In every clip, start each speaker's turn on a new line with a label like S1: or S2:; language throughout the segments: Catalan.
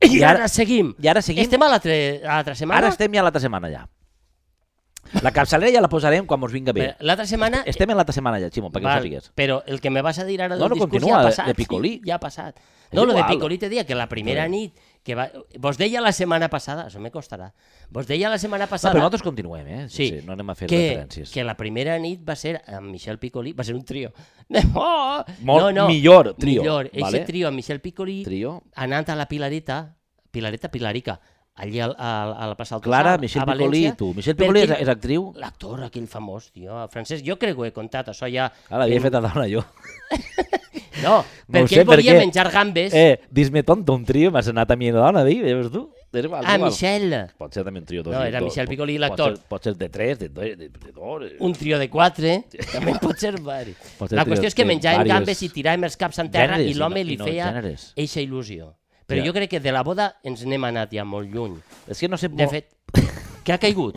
S1: I,
S2: I
S1: ara,
S2: ara seguim.
S1: I ara seguim.
S2: Estem a l'altra a l'altra setmana?
S1: Ara estem ja l'altra setmana ja. La capçalera ja la posarem quan us vinga bé.
S2: Bé, L'altra setmana...
S1: Estem en l'altra setmana ja, Ximo, perquè
S2: Val,
S1: ho sàpigues.
S2: Però el que me vas a dir ara del
S1: No, no,
S2: discurs
S1: continua,
S2: ja ha
S1: de-
S2: passat.
S1: de Picolí.
S2: Sí, ja ha passat. No, lo de
S1: igual.
S2: Picolí te dia que la primera nit que va... Vos deia la setmana passada, això me costarà. Vos deia la setmana
S1: No,
S2: passada...
S1: però nosaltres continuem, eh? Sí, sí, no anem a fer
S2: que,
S1: referències.
S2: Que la primera nit va ser amb Michel Picolí, va ser un trio. Oh!
S1: Molt millor trio,
S2: Millor, eixe
S1: vale?
S2: trio amb Michel Picolí,
S1: Trio.
S2: anant a la Pilareta, Pilareta Pilarica, allí al, al, a la plaça del
S1: Clara,
S2: Tossal,
S1: Michel
S2: a València,
S1: Picolí i tu. Michel
S2: per
S1: Picolí és,
S2: quin-
S1: és actriu?
S2: L'actor aquell famós, tio, Francesc, jo crec que ho he contat, això ja...
S1: Ara l'havia fet a dona jo.
S2: No,
S1: No ho
S2: perquè
S1: sé,
S2: ell volia
S1: perquè-
S2: menjar gambes
S1: Eh, dis-me tonto, un trio, m'has anat a mi a dona, dir, veus tu? És
S2: a
S1: igual, és igual.
S2: Ah, Michel.
S1: Pot ser també un trio dos.
S2: No, era
S1: dos.
S2: Michel Piccoli i
S1: Pot-
S2: l'actor.
S1: pot ser- Pot ser de tres, de dos, de, de dos. eh.
S2: Un trio de quatre, també pot ser vari.
S1: Pot ser
S2: La
S1: trio
S2: qüestió és que
S1: de
S2: menjàvem
S1: varies-
S2: gambes i tiràvem els caps en terra
S1: Gèneres,
S2: i l'home
S1: i no-
S2: li
S1: i no
S2: feia
S1: gèneres.
S2: eixa il·lusió. Però
S1: Ja.
S2: jo crec que de la boda ens n'hem anat ja molt lluny.
S1: És que no sé...
S2: De
S1: mo-
S2: fet, que ha caigut?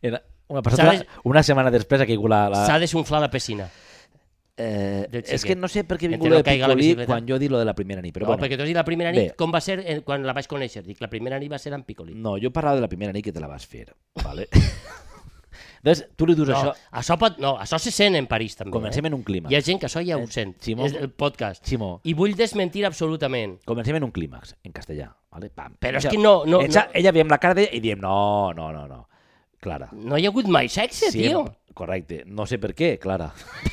S1: Era una, persona,
S2: S'ha de-
S1: una setmana després ha caigut la... la...
S2: S'ha desunflat la piscina.
S1: Eh,
S2: del
S1: és
S2: xiquet.
S1: que no sé per què he vingut
S2: Entre
S1: lo
S2: no
S1: de
S2: caiga la
S1: Picolí
S2: bicicleta.
S1: quan jo he dit lo de la primera nit,
S2: Però
S1: però
S2: no,
S1: bueno.
S2: Oh, perquè tu has dit la primera nit,
S1: Bé.
S2: com va ser eh, quan la vaig conèixer? Dic, la primera nit va ser amb Picolí.
S1: No, jo parlava de la primera nit que te la vas fer, vale? Entonces, tu li dius
S2: No,
S1: això...
S2: això, pot, no, això se sent en París també. eh?
S1: Comencem en un clima.
S2: Hi ha gent que això ja ho sent,
S1: Eh, Simó-
S2: és el podcast.
S1: Ximo,
S2: I vull desmentir absolutament.
S1: comencem en un clímax, en castellà, vale? Pam.
S2: Però és
S1: Ella-
S2: que no- no-
S1: Ella,
S2: no-
S1: ella veiem la cara d'ella i diem, no, no, no, no. Clara.
S2: No hi ha hagut mai sexe, sí, tio.
S1: no- correcte. No sé per què, Clara.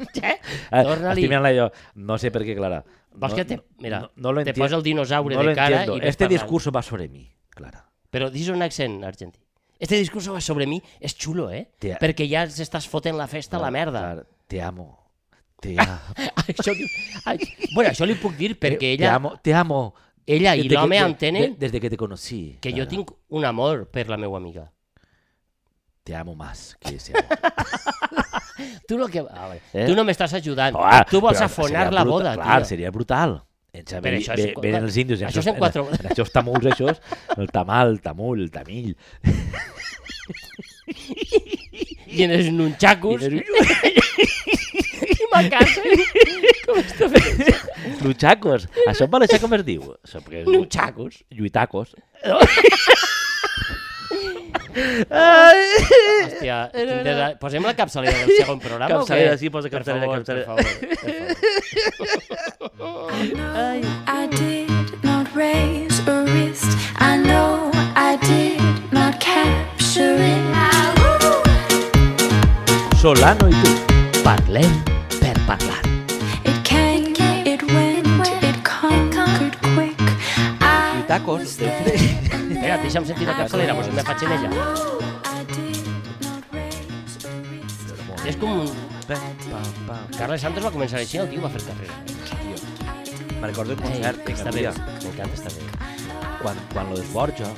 S2: Eh?
S1: Eh,
S2: Torna-li.
S1: Estic mirant-la jo. No sé per què, Clara.
S2: Vols
S1: no,
S2: que te... Mira,
S1: no, no lo
S2: te
S1: entien-
S2: posa el dinosaure
S1: no lo
S2: de cara
S1: entiendo.
S2: i ves
S1: Este
S2: parlant.
S1: discurso va sobre mi, Clara.
S2: Però dis un accent argentí. Este discurso va sobre mi és xulo, eh?
S1: Te-
S2: Perquè ja ens estàs fotent la festa a la merda. Ah,
S1: Clara, te amo. Te, a-
S2: això, diu- ai, bueno, això li puc dir perquè
S1: Eh, te
S2: ella,
S1: amo. Te amo.
S2: ella i
S1: Desde que-
S2: l'home
S1: de-
S2: entenen
S1: de- Desde que te Ah. conocí.
S2: que jo
S1: Clara.
S2: tinc un amor per la meva amiga.
S1: Te amo más que ese amor.
S2: Tu no, que... a veure,
S1: Eh?
S2: tu no m'estàs ajudant.
S1: Ah,
S2: tu vols
S1: però
S2: afonar
S1: seria
S2: la
S1: brutal,
S2: boda,
S1: clar,
S2: tio.
S1: seria brutal. Ens
S2: Però
S1: ve,
S2: això és
S1: ve,
S2: un-
S1: venen els índios.
S2: això són quatre-
S1: En, en aquests tamuls, això, el tamal, el tamul, el tamill.
S2: I en els nunxacos,
S1: I
S2: i ma casa, com està fent?
S1: els Luchacos. Això en valencià com es diu? Això perquè és
S2: Nunxacos.
S1: lluitacos. Ai,
S2: Hòstia, tindrà... posem la capçalera del segon programa
S1: Capçalera,
S2: o què?
S1: sí, posa capçalera,
S2: per
S1: capçalera.
S2: favor, Per favor, per favor.
S3: I I did not raise a wrist. I know I did not capture it.
S1: Solano i tu.
S2: Parlem per parlar.
S3: It came, it went, it conquered quick. I
S1: Lluitacos.
S2: Espera, deixa'm sentir la capçalera, pues me faig en ella.
S3: know I did not raise a wrist.
S2: És com un...
S1: Pam, pam.
S2: Carles Santos va començar així, el tio va fer carrera.
S1: Me recordo un
S2: Ei,
S1: concert que
S2: està bé,
S1: havia,
S2: m'encanta, està bé.
S1: quan, quan lo desborja.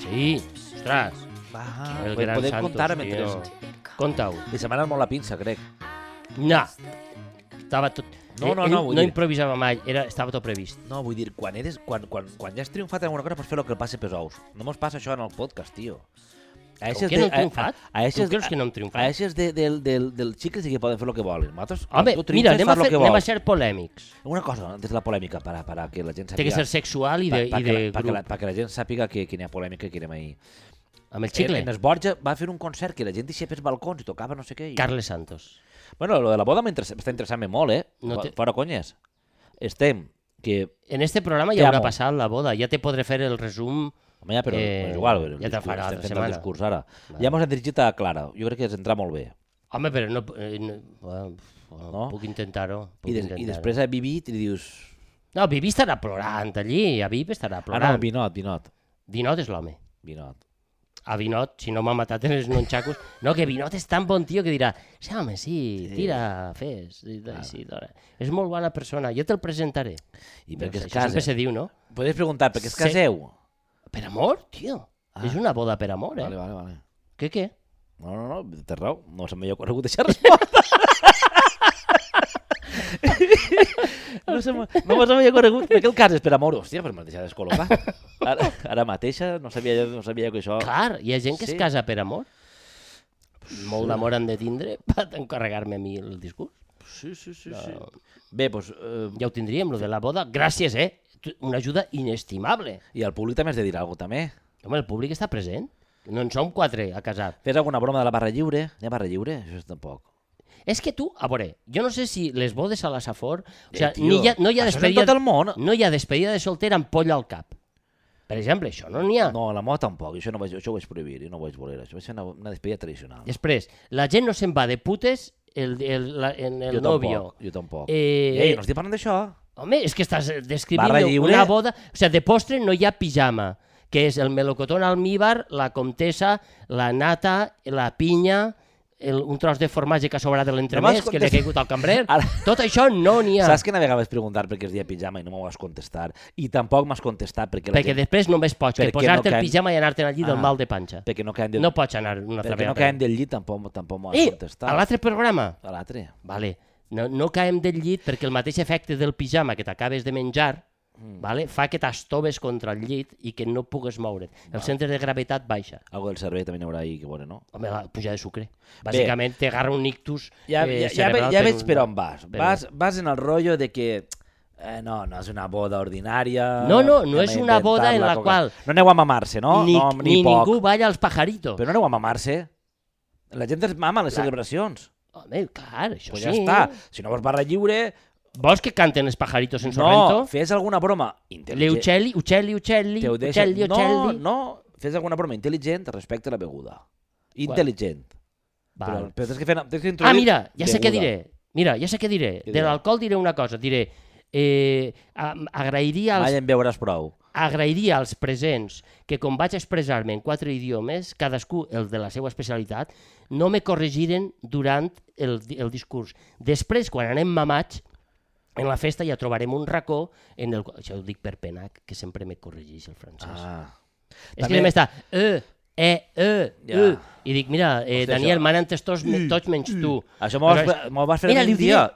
S2: Sí, ostres,
S1: Va,
S2: el
S1: podem
S2: gran
S1: podem
S2: Santos,
S1: contar mentre...
S2: tio. Conta-ho.
S1: Li se m'ha anat molt la pinça, crec.
S2: No, estava tot... Eh,
S1: No, no,
S2: Ell
S1: no, vull
S2: no
S1: dir-
S2: improvisava mai, era, estava tot previst.
S1: No, vull dir, quan, eres, quan, quan, quan ja has triomfat en alguna cosa pots fer el que passe pels ous. No mos passa això en el podcast, tio. A
S2: Com que no hem triomfat?
S1: A, a, a,
S2: Tu creus que no hem triomfat?
S1: A eixes de, del, del, del xicle sí que poden fer el que volen. Nosaltres, quan
S2: Home,
S1: tu
S2: mira,
S1: triomfes,
S2: anem a,
S1: fas lo
S2: fer,
S1: que
S2: anem a
S1: vols.
S2: ser polèmics.
S1: Una cosa, antes de la polèmica, para, para que la gent
S2: Té
S1: sàpiga...
S2: que ser sexual i
S1: pa-
S2: de,
S1: pa
S2: i
S1: que
S2: de
S1: la, pa que la,
S2: grup.
S1: pa que la gent sàpiga que, que n'hi ha polèmica i que anem ahir.
S2: Amb el
S1: En,
S2: xicle,
S1: Eh, en Esborja va fer un concert que la gent deixava pels balcons i tocava no sé què. I...
S2: Carles Santos.
S1: Bueno, lo de la boda m'interessa- m'està interessant molt, eh?
S2: No
S1: No
S2: té-
S1: Fora conyes. Estem que...
S2: En este programa
S1: Te
S2: ja haurà
S1: amo.
S2: passat la boda, ja te podré fer el resum.
S1: Home, ja, però
S2: Eh,
S1: eh, igual,
S2: ja te'n farà
S1: estem
S2: altra
S1: fent el
S2: setmana.
S1: discurs ara. Ja mos hem dirigit a Clara, jo crec que ens entrà molt bé.
S2: Home, però no... Eh, no bueno, no?
S1: No?
S2: Puc intentar-ho. puc
S1: I, des,
S2: intentar-ho.
S1: I després a Vivit li dius...
S2: No, Vivi estarà plorant allí, a Vivi estarà
S1: Ah, no,
S2: plorant.
S1: Vinot, Vinot.
S2: Vinot és l'home.
S1: Vinot.
S2: A Vinot, si no m'ha matat en els nonxacos... No, que Vinot és tan bon tio que dirà sí, home, sí, tira, fes. i- Sí, dona. És molt bona persona, jo te'l presentaré.
S1: I perquè
S2: Això
S1: es casa.
S2: Sempre se diu, no?
S1: Podés preguntar, perquè es
S2: Sí.
S1: caseu?
S2: Per amor, tio. Ah. És una boda per amor, eh?
S1: Vale, vale, vale.
S2: Què, què?
S1: No, no, no, té raó. No se m'havia ocorregut aquesta resposta. no se m'ha- no se m'havia ocorregut. Per què el cases per amor? Hòstia, però m'ha deixat descol·locar. Ara, ara mateixa no sabia, no sabia que això...
S2: Clar, hi ha gent que sí.
S1: Oh, Sí.
S2: es casa per amor. Molt d'amor han de tindre per encarregar-me a mi el discurs.
S1: Sí, sí, sí. sí. Bé, doncs... Eh,
S2: Ja ho tindríem, lo de la boda. Gràcies, eh? t- una ajuda inestimable.
S1: I el públic també has de dir alguna cosa, també.
S2: Home, el públic està present. No en som quatre a casar.
S1: Fes alguna broma de la barra lliure. Hi ha barra lliure? Això és tampoc.
S2: És que tu, a veure, jo no sé si les bodes a la Safor... O sigui,
S1: Eh, tio,
S2: ni hi ha, no hi ha
S1: això és en
S2: despedida...
S1: tot el món.
S2: No hi ha despedida de soltera amb polla al cap. Per exemple, això no n'hi ha.
S1: No, a la moda tampoc. Això, no vaig, això ho vaig prohibir. Jo no ho vaig voler. Això va ser una, una despedida tradicional.
S2: Després, la gent no se'n va de putes el, el, la, en el
S1: jo
S2: novio.
S1: tampoc. Jo tampoc.
S2: Eh,
S1: Ei, no estic parlant d'això.
S2: Home, és que estàs eh,
S1: Barra
S2: descrivint
S1: lliure.
S2: una boda... O sigui, de postre no hi ha pijama, que és el melocotón almíbar, la comtessa, la nata, la pinya, el, un tros de formatge que ha sobrat de l'entremés,
S1: No m'has
S2: que li ha
S1: contestat.
S2: caigut al cambrer...
S1: Ara-
S2: Tot això no n'hi ha,
S1: Saps que una vegada vas preguntar per què es deia pijama i no m'ho vas contestar. I tampoc m'has contestat perquè, la
S2: perquè
S1: gent,
S2: després només pots que
S1: Perquè no
S2: posar-te
S1: caen-
S2: el pijama i anar-te'n allí del
S1: Ah.
S2: mal de panxa.
S1: perquè no caen del,
S2: No pots anar una altra
S1: perquè no
S2: vegada.
S1: caen del llit tampoc, tampoc m'ho has
S2: Eh,
S1: contestat.
S2: a l'altre programa,
S1: A l'altre.
S2: Vale. No, no caem del llit perquè el mateix efecte del pijama que t'acabes de menjar
S1: Mm.
S2: vale, fa que t'estoves contra el llit i que no pugues moure't. El centre de gravetat baixa.
S1: Algo del cervell també n'hi haurà ahir, que bueno, no?
S2: Home, la pujada de sucre. Bàsicament t'agarra un ictus eh,
S1: Ja, ja, ja, ve-
S2: cerebral
S1: ja
S2: per
S1: veig
S2: un-
S1: per on vas.
S2: per-
S1: Vas, vas en el rotllo de que eh, no, no és una boda ordinària...
S2: No, no, no
S1: anem a
S2: és una boda en
S1: inventar-la
S2: la
S1: coca-
S2: qual-
S1: No aneu a mamar-se, no?
S2: Ni,
S1: no,
S2: ni,
S1: poc.
S2: ningú balla als pajaritos.
S1: Però no aneu a mamar-se. La gent es mama a les
S2: Clar.
S1: celebracions.
S2: Home, clar, això
S1: Pues
S2: sí.
S1: ja està. Si no vols barra lliure,
S2: Vols que canten els pajaritos en
S1: no,
S2: Sorrento?
S1: fes alguna broma intel·ligent.
S2: Leucelli, Uccelli, Uccelli,
S1: Te ho deixa-
S2: Uccelli,
S1: No,
S2: Uccelli.
S1: no, fes alguna broma intel·ligent respecte a la beguda. Intel·ligent.
S2: Val.
S1: Però, però tens que fer... Tens que
S2: Ah,
S1: introduir
S2: mira, ja sé què
S1: beguda.
S2: diré. Mira, ja sé què diré.
S1: Què
S2: de
S1: dirà?
S2: l'alcohol diré una cosa. Diré, eh, a- agrairia, als,
S1: Mai en veuràs prou.
S2: agrairia als presents que com vaig expressar-me en quatre idiomes, cadascú el de la seva especialitat, no me corregiren durant el, di- el discurs. Després, quan anem mamats, en la festa ja trobarem un racó en el... qual- Això ho dic per pena, que sempre me corregeix el francès.
S1: Ah.
S2: És que també està... Eh, eh, eh,
S1: Ja.
S2: eh. I dic, mira, eh,
S1: Hòstia,
S2: Daniel,
S1: això-
S2: m'han entès tots, tots menys tu.
S1: Això m'ho vas,
S2: Però és-
S1: fer- m'ho vas fer
S2: Mira,
S1: un
S2: li ho
S1: dia.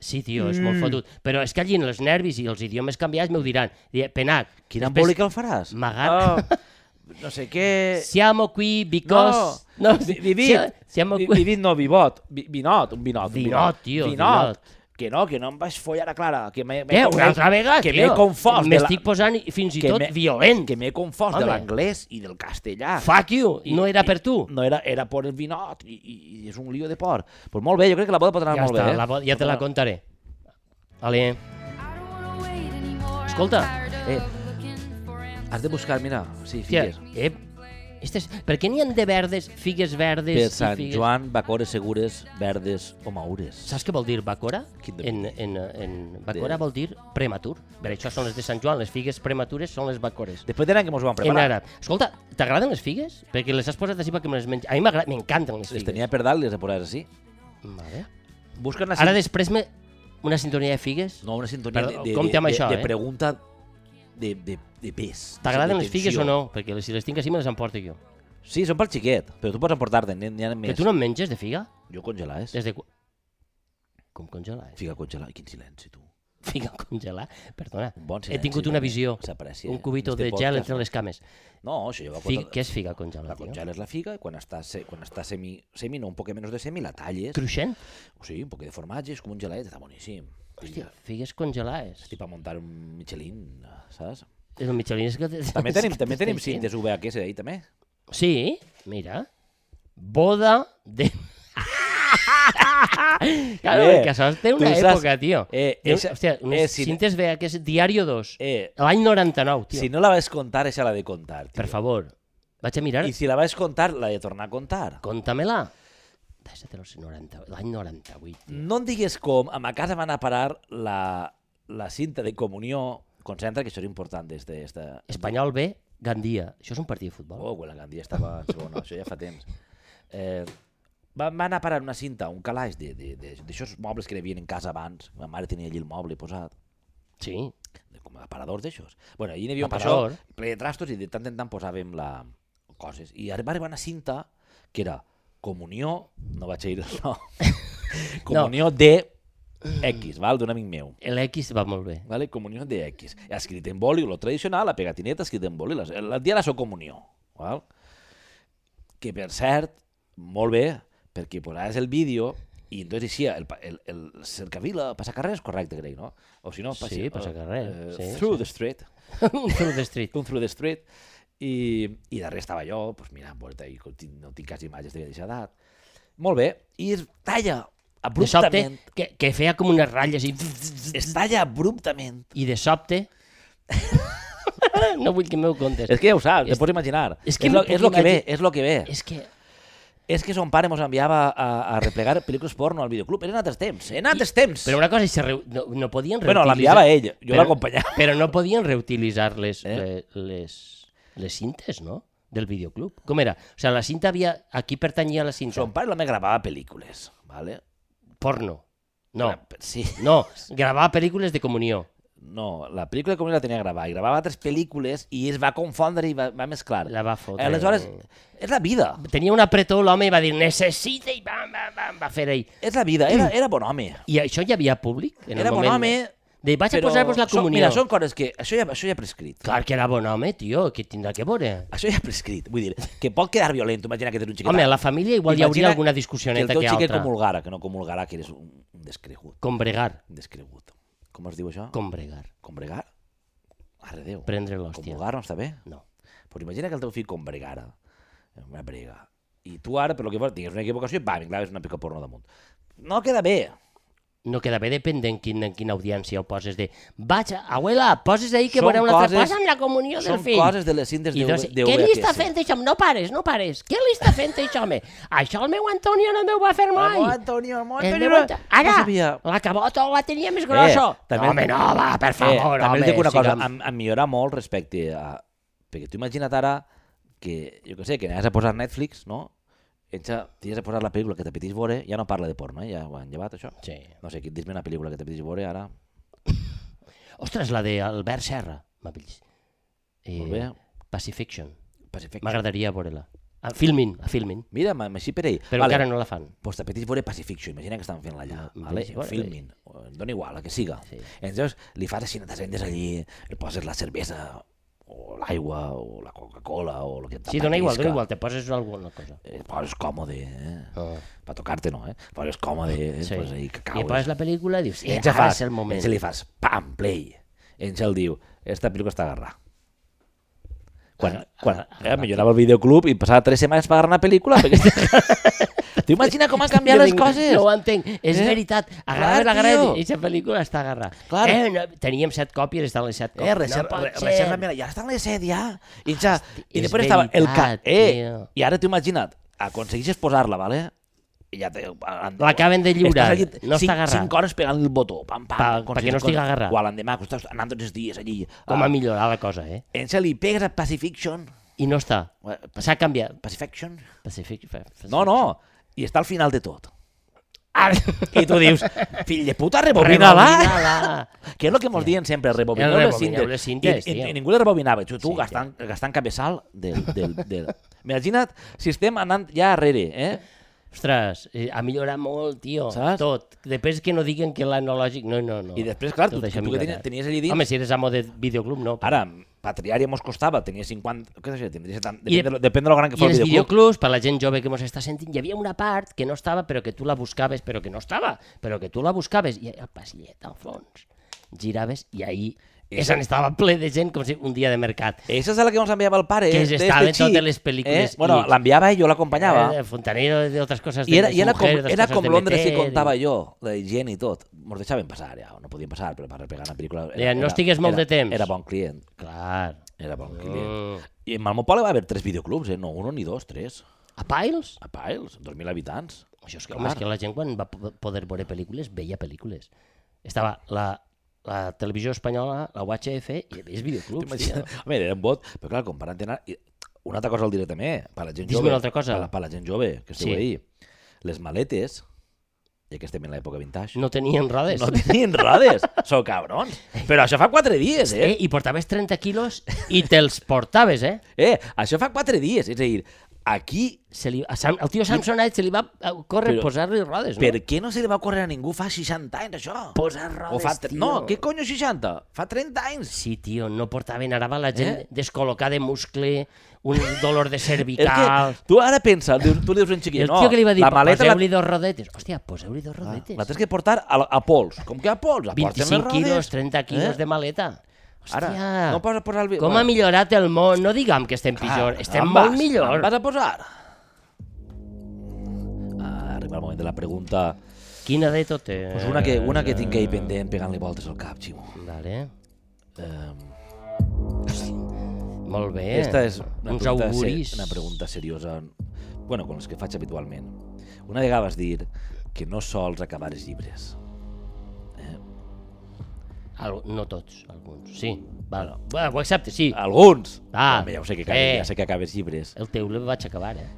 S2: Sí, tio, és
S1: Mm.
S2: molt fotut. Però és que allí en els nervis i els idiomes canviats m'ho diran. Diré, Penac,
S1: Quin
S2: després-
S1: embolic el faràs?
S2: M'agrada.
S1: Oh, no sé què...
S2: Siamo qui because...
S1: No,
S2: si-
S1: vi- vivit,
S2: si- Siamo
S1: vi-
S2: qui...
S1: vivit no, vivot, vi, vinot, un vinot. un
S2: Vinot, tio, vinot.
S1: vinot. Que no, que no em vaig follar a Clara, que m'he m'he
S2: Eh,
S1: confós-
S2: una altra vegada,
S1: que
S2: tio.
S1: m'he confós, de la,
S2: M'estic posant i fins i
S1: que
S2: tot
S1: m'he-
S2: violent.
S1: que m'he confós de
S2: Home.
S1: l'anglès i del castellà.
S2: Fuck you, no era per tu.
S1: No, era, era por el vinot i, i, i és un lío de por. Pues molt bé, jo crec que la boda pot anar
S2: Ja
S1: molt bé.
S2: està,
S1: eh?
S2: la, bo- ja te la contaré. Vale. Escolta.
S3: Escolta.
S1: Eh. Has de buscar, mira, sí,
S2: Hòstia,
S1: figues.
S2: eh, Estes, per què n'hi han de verdes, figues verdes
S1: Per
S2: i
S1: Sant
S2: figues...
S1: Joan, bacores segures, verdes o maures.
S2: Saps què vol dir bacora?
S1: Quin de-
S2: En, en, en bacora
S1: de-
S2: vol dir prematur. Per això són les de Sant Joan, les figues prematures són les bacores.
S1: Després d'anar que mos ho van
S2: En
S1: preparar.
S2: àrab. Escolta, t'agraden les figues? Perquè les has posat així perquè me les menys... A mi m'agra- m'encanten les
S1: Les
S2: figues.
S1: tenia per dalt i les he posat així.
S2: Vale.
S1: Busquen la
S2: Ara després me... una sintonia de figues?
S1: No, una sintonia
S2: Perdó,
S1: de, de,
S2: compte
S1: de,
S2: amb això,
S1: de,
S2: eh?
S1: de pregunta de, de, de pes.
S2: T'agraden
S1: de
S2: les figues
S1: tensió.
S2: o no? Perquè les- si les tinc així me les emporto jo.
S1: Sí, són pel xiquet, però tu pots emportar-te'n, n'hi ha
S2: Que
S1: més.
S2: tu no en menges de figa?
S1: Jo congelar, és.
S2: Des de... quan- Com congelar? eh?
S1: Figa congelar, quin silenci, tu.
S2: Figa congelar? Perdona.
S1: Un bon
S2: He
S1: silenci.
S2: tingut una
S1: també.
S2: visió.
S1: S'aprecia.
S2: Un cubito
S1: en este
S2: de gel
S1: podcast.
S2: entre les cames.
S1: No, això ja va
S2: Fi...
S1: contra-
S2: Què és figa congelar?
S1: La
S2: tio?
S1: congeles la figa i quan està, se, quan està semi, semi, no, un poc menys de semi, la talles.
S2: Cruixent?
S1: O sigui, un poc de formatge, és com un gelet, està boníssim.
S2: Hòstia, figues congelades.
S1: Estic per muntar un Michelin, saps?
S2: El Michelin és que...
S1: També
S2: és
S1: tenim,
S2: que
S1: també
S2: t'estem
S1: tenim
S2: dient.
S1: cintes VHS d'ahir, també.
S2: Sí, mira. Boda de... claro,
S1: Eh,
S2: que això té
S1: tu
S2: una
S1: saps-
S2: època, tio.
S1: Eh,
S2: Té un-
S1: esa-
S2: Hòstia, unes
S1: eh, si-
S2: cintes vea que és Diario 2.
S1: Eh,
S2: L'any 99, tio.
S1: si no la vas contar, esa la de contar, tio.
S2: Per favor, vaig a mirar.
S1: I si la vas contar, la de tornar a contar.
S2: Conta-me-la. Deixa-te els 90... L'any 98, tio.
S1: No em digues com, a ma casa van a parar la, la cinta de comunió. Concentra, que això és important des d'esta...
S2: Espanyol B, Gandia. Això és un partit de futbol?
S1: Oh, quan la Gandia estava en segona, això ja fa temps. Eh, van, van a parar una cinta, un calaix de- de- de- d'aixòs mobles que hi havia en casa abans. Ma mare tenia allí el moble posat,
S2: Sí.
S1: de- com a aparadors d'aixòs. Bueno, allí n'hi havia un
S2: Aparador.
S1: aparador ple de trastos i de tant en tant posàvem la, coses. I ara va arribar una cinta que era comunió, no vaig a dir el nom, comunió de X, val? d'un amic meu.
S2: L'X va molt bé.
S1: Vale? Comunió de X. Escrit en boli, lo tradicional, la pegatineta escrit en boli, les- el dia de la so comunió. Val? Que per cert, molt bé, perquè posaràs el vídeo I entonces eixia el, pa- el, el cercavila, passacarrer és correcte, crec, no? O si no, passi,
S2: Sí, passacarrer,
S1: eh,
S2: sí,
S1: through the street,
S2: un through the street.
S1: un through the street, i, i darrere estava jo, pues, mirant volta, i co- tinc- no tinc quasi imatges d'aquesta edat. Molt bé, i es talla
S2: De sobte,
S1: abruptament,
S2: que, que feia com unes ratlles i...
S1: es talla abruptament.
S2: I de sobte... no vull que m'ho contes.
S1: És que ja ho saps,
S2: És-
S1: te pots imaginar.
S2: és
S1: És,
S2: que
S1: que és,
S2: m'ho puc
S1: lo, és lo que ve,
S2: imagi-
S1: és lo que ve. És,
S2: És que...
S1: és que son pare mos enviava a, a replegar pel·lícules porno al videoclub. Eren altres temps, en altres temps.
S2: Però una cosa, és que reu- no, no podien
S1: Bueno, l'enviava ell, jo l'acompanyava.
S2: Però no podien reutilitzar les, eh?
S1: Eh?
S2: les, les cintes, no? Del videoclub. Com era? O sigui, la cinta havia... Aquí pertanyia la cinta.
S1: Son pare també gravava pel·lícules, ¿vale?
S2: Porno. No,
S1: Era- Sí,
S2: no, gravava pel·lícules de comunió.
S1: no, la pel·lícula com la tenia gravada, i gravava altres pel·lícules i es va confondre i va, va mesclar. Eh,
S2: La va fotre.
S1: Aleshores, és la vida,
S2: Tenia un apretó l'home i va dir necessita i bam, bam, bam, va fer ell.
S1: és la vida, era, era bon home.
S2: I això ja havia públic? En
S1: Era
S2: el
S1: bon
S2: moment?
S1: home,
S2: De, vaig a posar-vos la
S1: són-
S2: comunió.
S1: Mira, són coses que... Això ja, això ja ha prescrit.
S2: Clar que era bon home, tio, que tindrà que veure.
S1: Això ja ha prescrit. Vull dir, que pot quedar violent, tu imagina que tens un xiquet.
S2: Home, a la família igual hi hauria
S1: Imagina
S2: alguna
S1: que
S2: discussioneta
S1: el
S2: que,
S1: teu xiquet
S2: altra.
S1: comulgara, que no comulgarà, que eres un, un descregut.
S2: Combregar.
S1: Un descregut. Com es diu això? Com...
S2: Combregar.
S1: Combregar? Arre Déu.
S2: Prendre l'hòstia.
S1: Comulgar no està bé?
S2: No.
S1: Pues imagina que el teu fill combregara. en Una brega. I tu ara, per lo que vols, tingues una equivocació i bam, i clar, és una pica porno damunt. No queda bé.
S2: No queda bé, depèn en, quin, en quina audiència ho poses de... Vaig, abuela, poses ahir que
S1: Són
S2: veurà una altra
S1: coses-
S2: cosa amb la comunió del
S1: Són
S2: fill.
S1: coses de les cintes
S2: I
S1: de,
S2: dos,
S1: de
S2: què li està
S1: VHS.
S2: fent això? No pares, no pares. Què li està fent això, home? Això el meu Antonio no m'ho va fer mai.
S1: Ramon Antonio, Ramon
S2: El
S1: Antonio.
S2: meu Anto- Ara,
S1: no sabia.
S2: la cabota la tenia més grossa.
S1: també-
S2: Home, no, va, per favor,
S1: eh, també
S2: home.
S1: us dic una cosa,
S2: siguem-
S1: em, em millora molt respecte a... Perquè tu imagina't ara que, jo què sé, que anaves a posar Netflix, no? Enxa, tenies a posar la pel·lícula que t'apetís veure, ja no parla de porno, eh? ja ho han llevat, això.
S2: Sí.
S1: No sé, qui et dis una pel·lícula que t'apetís veure ara,
S2: Ostres, la d'Albert Serra, m'ha vist. Eh,
S1: molt bé.
S2: Pacifiction.
S1: Pacific.
S2: M'agradaria veure-la. A Filmin, a Filmin.
S1: Mira, m- així per ell.
S2: Però encara no la fan.
S1: Pues t'apetís veure Pacifiction, imagina que estan fent-la allà,
S2: Mm,
S1: vale?
S2: sí, bueno,
S1: filmin, eh, dona igual, el que siga.
S2: Sí.
S1: Sí. Llavors li fas així, t'assendes allí, li poses la cervesa, o l'aigua, o la Coca-Cola, o el que
S2: Sí, dona igual, dona
S1: t'apetisca.
S2: igual, te poses alguna cosa.
S1: Eh, poses còmode, eh?
S2: Ah.
S1: Per tocar-te no, eh? Poses còmode, eh?
S2: Sí.
S1: Sí. Poses ahí que
S2: I
S1: caus.
S2: poses la pel·lícula i dius,
S1: I
S2: eh,
S1: ens ja
S2: ara
S1: fas,
S2: és el moment.
S1: Ens li fas, pam, play. I ens el diu, esta pel·lícula està agarrada.
S2: Ah,
S1: Quan, quan eh, millorava el videoclub i passava tres setmanes per agarrar una pel·lícula. Perquè... T'ho imagina com han canviat
S2: Jo
S1: les
S2: tinc-
S1: coses?
S2: No ho entenc, és
S1: Eh?
S2: veritat. Agarra
S1: Clar,
S2: la gara
S1: tio.
S2: i aquesta pel·lícula està agarrada.
S1: Clar.
S2: Eh, no, teníem set còpies, estan les set còpies.
S1: Eh, reserva,
S2: no
S1: no
S2: pot
S1: reserva,
S2: ser.
S1: mira, ja estan les set, ja. I, ja,
S2: és
S1: i després estava el ca...
S2: veritat,
S1: Eh,
S2: tio.
S1: I ara t'ho imagina't, aconseguixes posar-la, vale? I ja te...
S2: L'acaben de lliurar, no està agarrat.
S1: 5 hores pegant el botó, pam, pam.
S2: Pa-
S1: aconsegueixes
S2: perquè no estigui
S1: coses.
S2: agarrat.
S1: O a l'endemà, que estàs anant tots els dies allí.
S2: Com a
S1: a...
S2: millorar la cosa, eh?
S1: En se li pegues a Pacifiction.
S2: I no està.
S1: Bueno,
S2: S'ha canviat.
S1: Pacifiction?
S2: Pacific... fa- fa- Ah,
S1: No, no. I està al final de tot.
S2: Ara-
S1: I tu dius, fill de puta, rebobina-la.
S2: Rebobina-la.
S1: Que és el que mos diuen sempre, rebobineu
S2: El
S1: les
S2: rebobineu
S1: cintes.
S2: les cintes,
S1: I, i,
S2: tio.
S1: i ningú les rebobinava. Tu, tu
S2: Sí,
S1: gastant, gastant cabeçal del... del, del... Imagina't si estem anant ja arrere, eh?
S2: Ostres, eh, ha millorat molt, tio.
S1: Saps?
S2: Tot. Després que no diguen que l'analògic... No, no, no.
S1: I després, clar, tu,
S2: Tot
S1: tu
S2: això ha
S1: que tenies,
S2: millorat.
S1: tenies allí dins...
S2: Home, si eres amo de videoclub, no.
S1: Ara, patriària mos costava, tenia 50... Què sé, tindria 70...
S2: I-
S1: Depèn, de, lo- depèn de lo gran que
S2: I
S1: fos
S2: els
S1: el videoclub.
S2: videoclubs, per la gent jove que mos està sentint, hi havia una part que no estava, però que tu la buscaves, però que no estava, però que tu la buscaves, i el passillet al fons. Giraves i ahí és on estava ple de gent com si un dia de mercat.
S1: Esa és la que ens enviava el pare.
S2: Que
S1: eh?
S2: es
S1: D'este
S2: estaven
S1: xic,
S2: totes les pel·lícules
S1: Eh? Bueno,
S2: i-
S1: l'enviava i jo l'acompanyava.
S2: Eh, Fontanero de otras cosas de
S1: I era,
S2: mis
S1: i era com,
S2: mujeres, de
S1: era
S2: cosas
S1: com
S2: de
S1: Londres
S2: meter,
S1: que
S2: eh,
S1: contava jo, la higiene i tot. Mos deixaven passar, ja, o no podien passar, però per replegar una pel·lícula...
S2: Deien, "No estigues molt
S1: era,
S2: de temps."
S1: Era bon client,
S2: i- Clar.
S1: era bon client.
S2: Mm.
S1: I en Malmopole va haver tres videoclubs, eh? no un ni dos, tres.
S2: A Piles?
S1: A Piles, 2.000 habitants.
S2: Això és que, home, és que la gent quan va po- poder veure pel·lícules, veia pel·lícules. Estava la, la televisió espanyola, la UHF, i veus videoclubs, tio.
S1: Home, era un bot, però clar, comparant anar... i Una altra cosa al diré també, eh? per la gent
S2: Dis-me
S1: jove.
S2: una altra cosa.
S1: Per, la- per la gent jove, que esteu
S2: Sí.
S1: sí. ahí. Les maletes, ja que estem en l'època vintage,
S2: No tenien rodes.
S1: no tenien rodes, sou cabrons. Però això fa quatre dies, eh?
S2: eh? I portaves 30 quilos i te'ls portaves, eh?
S1: Eh, això fa quatre dies, és a dir, Aquí,
S2: Se li, a Sam, el tio Samsonet se li va eh, córrer
S1: Però-
S2: posar-li rodes, no?
S1: per què no se li va córrer a ningú fa 60 anys, això?
S2: Posar rodes,
S1: o fa... tre-
S2: tio.
S1: No, què conyo 60? Fa 30 anys.
S2: Sí, tio, no portaven ara va la gent
S1: Eh?
S2: descol·locada de muscle, un dolor de
S1: És
S2: cervical...
S1: que tu ara pensa, dius- tu li dius a un
S2: I
S1: xiquet,
S2: el
S1: no,
S2: tio que li va dir,
S1: la maleta la,
S2: poseu-li dos rodetes. Hòstia, poseu-li dos
S1: Ah,
S2: rodetes.
S1: La tens que portar a, a pols. Com que a pols? Aportem les
S2: 25
S1: rodes. Eh?
S2: quilos, 30 quilos de maleta. Hòstia,
S1: Ara, no posa a posar el vi. ah,
S2: com ha millorat el món? No diguem que estem pitjor, estem molt millor.
S1: Em vas a posar? Ah, arriba el moment de la pregunta.
S2: Quina de totes?
S1: Pues una, que, una que tinc ahí pendent pegant-li voltes al cap, Ximo.
S2: Vale.
S1: Um,
S2: Molt bé.
S1: Esta és una
S2: Uns
S1: pregunta, se-
S2: auguris.
S1: una pregunta seriosa. Bueno, com les que faig habitualment. Una vegada vas dir que no sols acabar els llibres.
S2: Al, no tots, alguns. Sí, val. Bueno, ho accepte, sí.
S1: Alguns!
S2: Ah,
S1: Home, ja ho sé que,
S2: sí.
S1: acabes, ja sé que acabes llibres.
S2: El teu el vaig acabar, eh?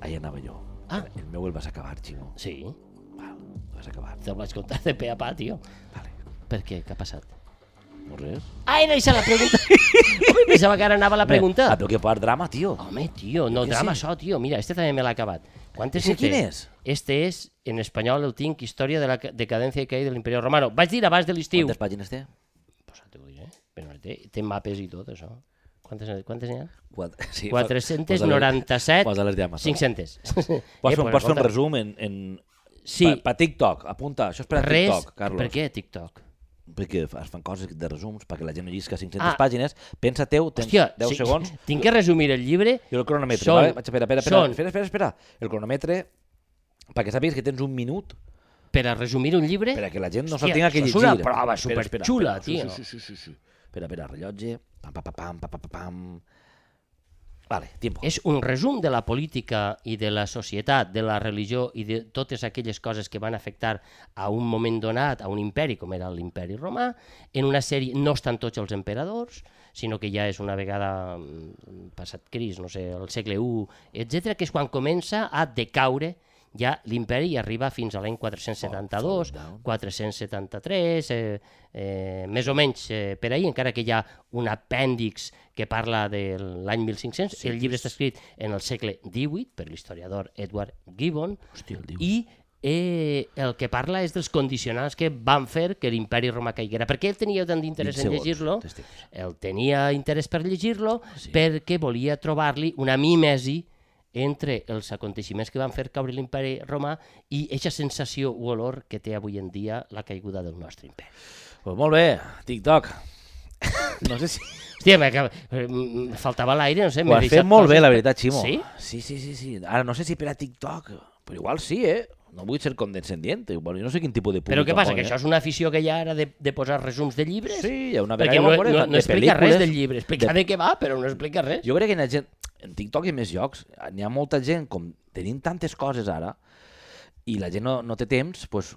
S1: Ahí anava jo.
S2: Ah.
S1: El meu el vas acabar, Ximo.
S2: Sí,
S1: Val, el vas acabar.
S2: te'l vaig contar de pe a pa, tio.
S1: Vale.
S2: Per què? Què ha passat?
S1: No res.
S2: Ah, era això la pregunta. Ui, Pensava que ara anava la pregunta.
S1: Ah, però que part drama, tio.
S2: Home, tio, no,
S1: què
S2: drama
S1: sé.
S2: això, tio. Mira, este també me l'ha acabat. Quantes
S1: Ese
S2: en té?
S1: quin és?
S2: Este és, en espanyol el tinc, Història de la ca- decadència i caída de l'Imperi Romano. Vaig dir abans de l'estiu.
S1: Quantes pàgines té?
S2: Pues ara t'ho diré. Però no té, té mapes i tot, això. Quantes, quantes n'hi ha?
S1: Quatre, sí, fa- posa les
S2: 497,
S1: llames.
S2: 500. Eh,
S1: Pots, fer,
S2: pues,
S1: pots fer un
S2: escolta,
S1: resum en... en...
S2: Sí.
S1: Per, per TikTok, apunta, això és per a
S2: res,
S1: TikTok, Carlos.
S2: Per què TikTok?
S1: Perquè es fan coses de resums, perquè la gent no llisca 500
S2: Ah.
S1: pàgines. Pensa teu, tens
S2: Hòstia,
S1: 10
S2: sí,
S1: segons.
S2: tinc que resumir el llibre.
S1: Jo el cronometre,
S2: Són-
S1: vale? Vaig, espera, espera, espera,
S2: són-
S1: espera, espera, espera. El cronometre, perquè sàpigues que tens un minut
S2: Per a resumir un llibre...
S1: per a que la gent no se'l
S2: Hòstia,
S1: tinga que
S2: això és
S1: llegir.
S2: una prova
S1: Espera, espera,
S2: superxula,
S1: espera.
S2: tio.
S1: Sí, sí, sí, sí, sí. Espera, espera, rellotge. Pam, pam, pam, pam, pam, pam, pam. Vale, tiempo.
S2: És un resum de la política i de la societat, de la religió i de totes aquelles coses que van afectar a un moment donat, a un imperi com era l'imperi romà, en una sèrie, no estan tots els emperadors, sinó que ja és una vegada mm, passat Cris, no sé, el segle I, etc que és quan comença a decaure ja l'imperi i arriba fins a l'any 472,
S1: Oh, down.
S2: 473, eh, eh, més o menys eh, per ahir, encara que hi ha un apèndix que parla de l'any 1500. Sí, el llibre està escrit en el segle XVIII per l'historiador Edward Gibbon
S1: Hòstia, el diu.
S2: i eh, el que parla és dels condicionants que van fer que l'imperi romà caiguera. Per què el tenia tant d'interès
S1: Vint
S2: en
S1: segons,
S2: llegir-lo?
S1: t'estimes.
S2: El tenia interès per llegir-lo
S1: Ah, Sí.
S2: sí. perquè volia trobar-li una mímesi entre els aconteixements que van fer caure l'imperi romà i eixa sensació o olor que té avui en dia la caiguda del nostre imperi.
S1: Pues molt bé, TikTok. No sé si...
S2: Hòstia, m'acaba- eh, m- m- faltava l'aire, no sé.
S1: Ho
S2: m'he
S1: has
S2: deixat
S1: fet molt bé,
S2: coses
S1: la
S2: per-
S1: veritat, Ximo.
S2: Sí?
S1: Sí, sí, sí, sí. Ara no sé si per a TikTok, però igual sí, eh? No vull ser condescendient. Bueno, jo no sé quin tipus de públic...
S2: Però què passa,
S1: tampoc,
S2: que
S1: eh?
S2: això és una afició que hi ha ara de, de posar resums de llibres?
S1: Sí, hi ha una
S2: Perquè no,
S1: vegada que
S2: no,
S1: vam veure
S2: no,
S1: de
S2: explica res
S1: pel·lícules,
S2: del llibre, explica de... què va, però no explica res.
S1: Jo crec que hi ha gent... En TikTok i en més llocs, n'hi ha molta gent, com tenim tantes coses ara, i la gent no, no té temps, doncs,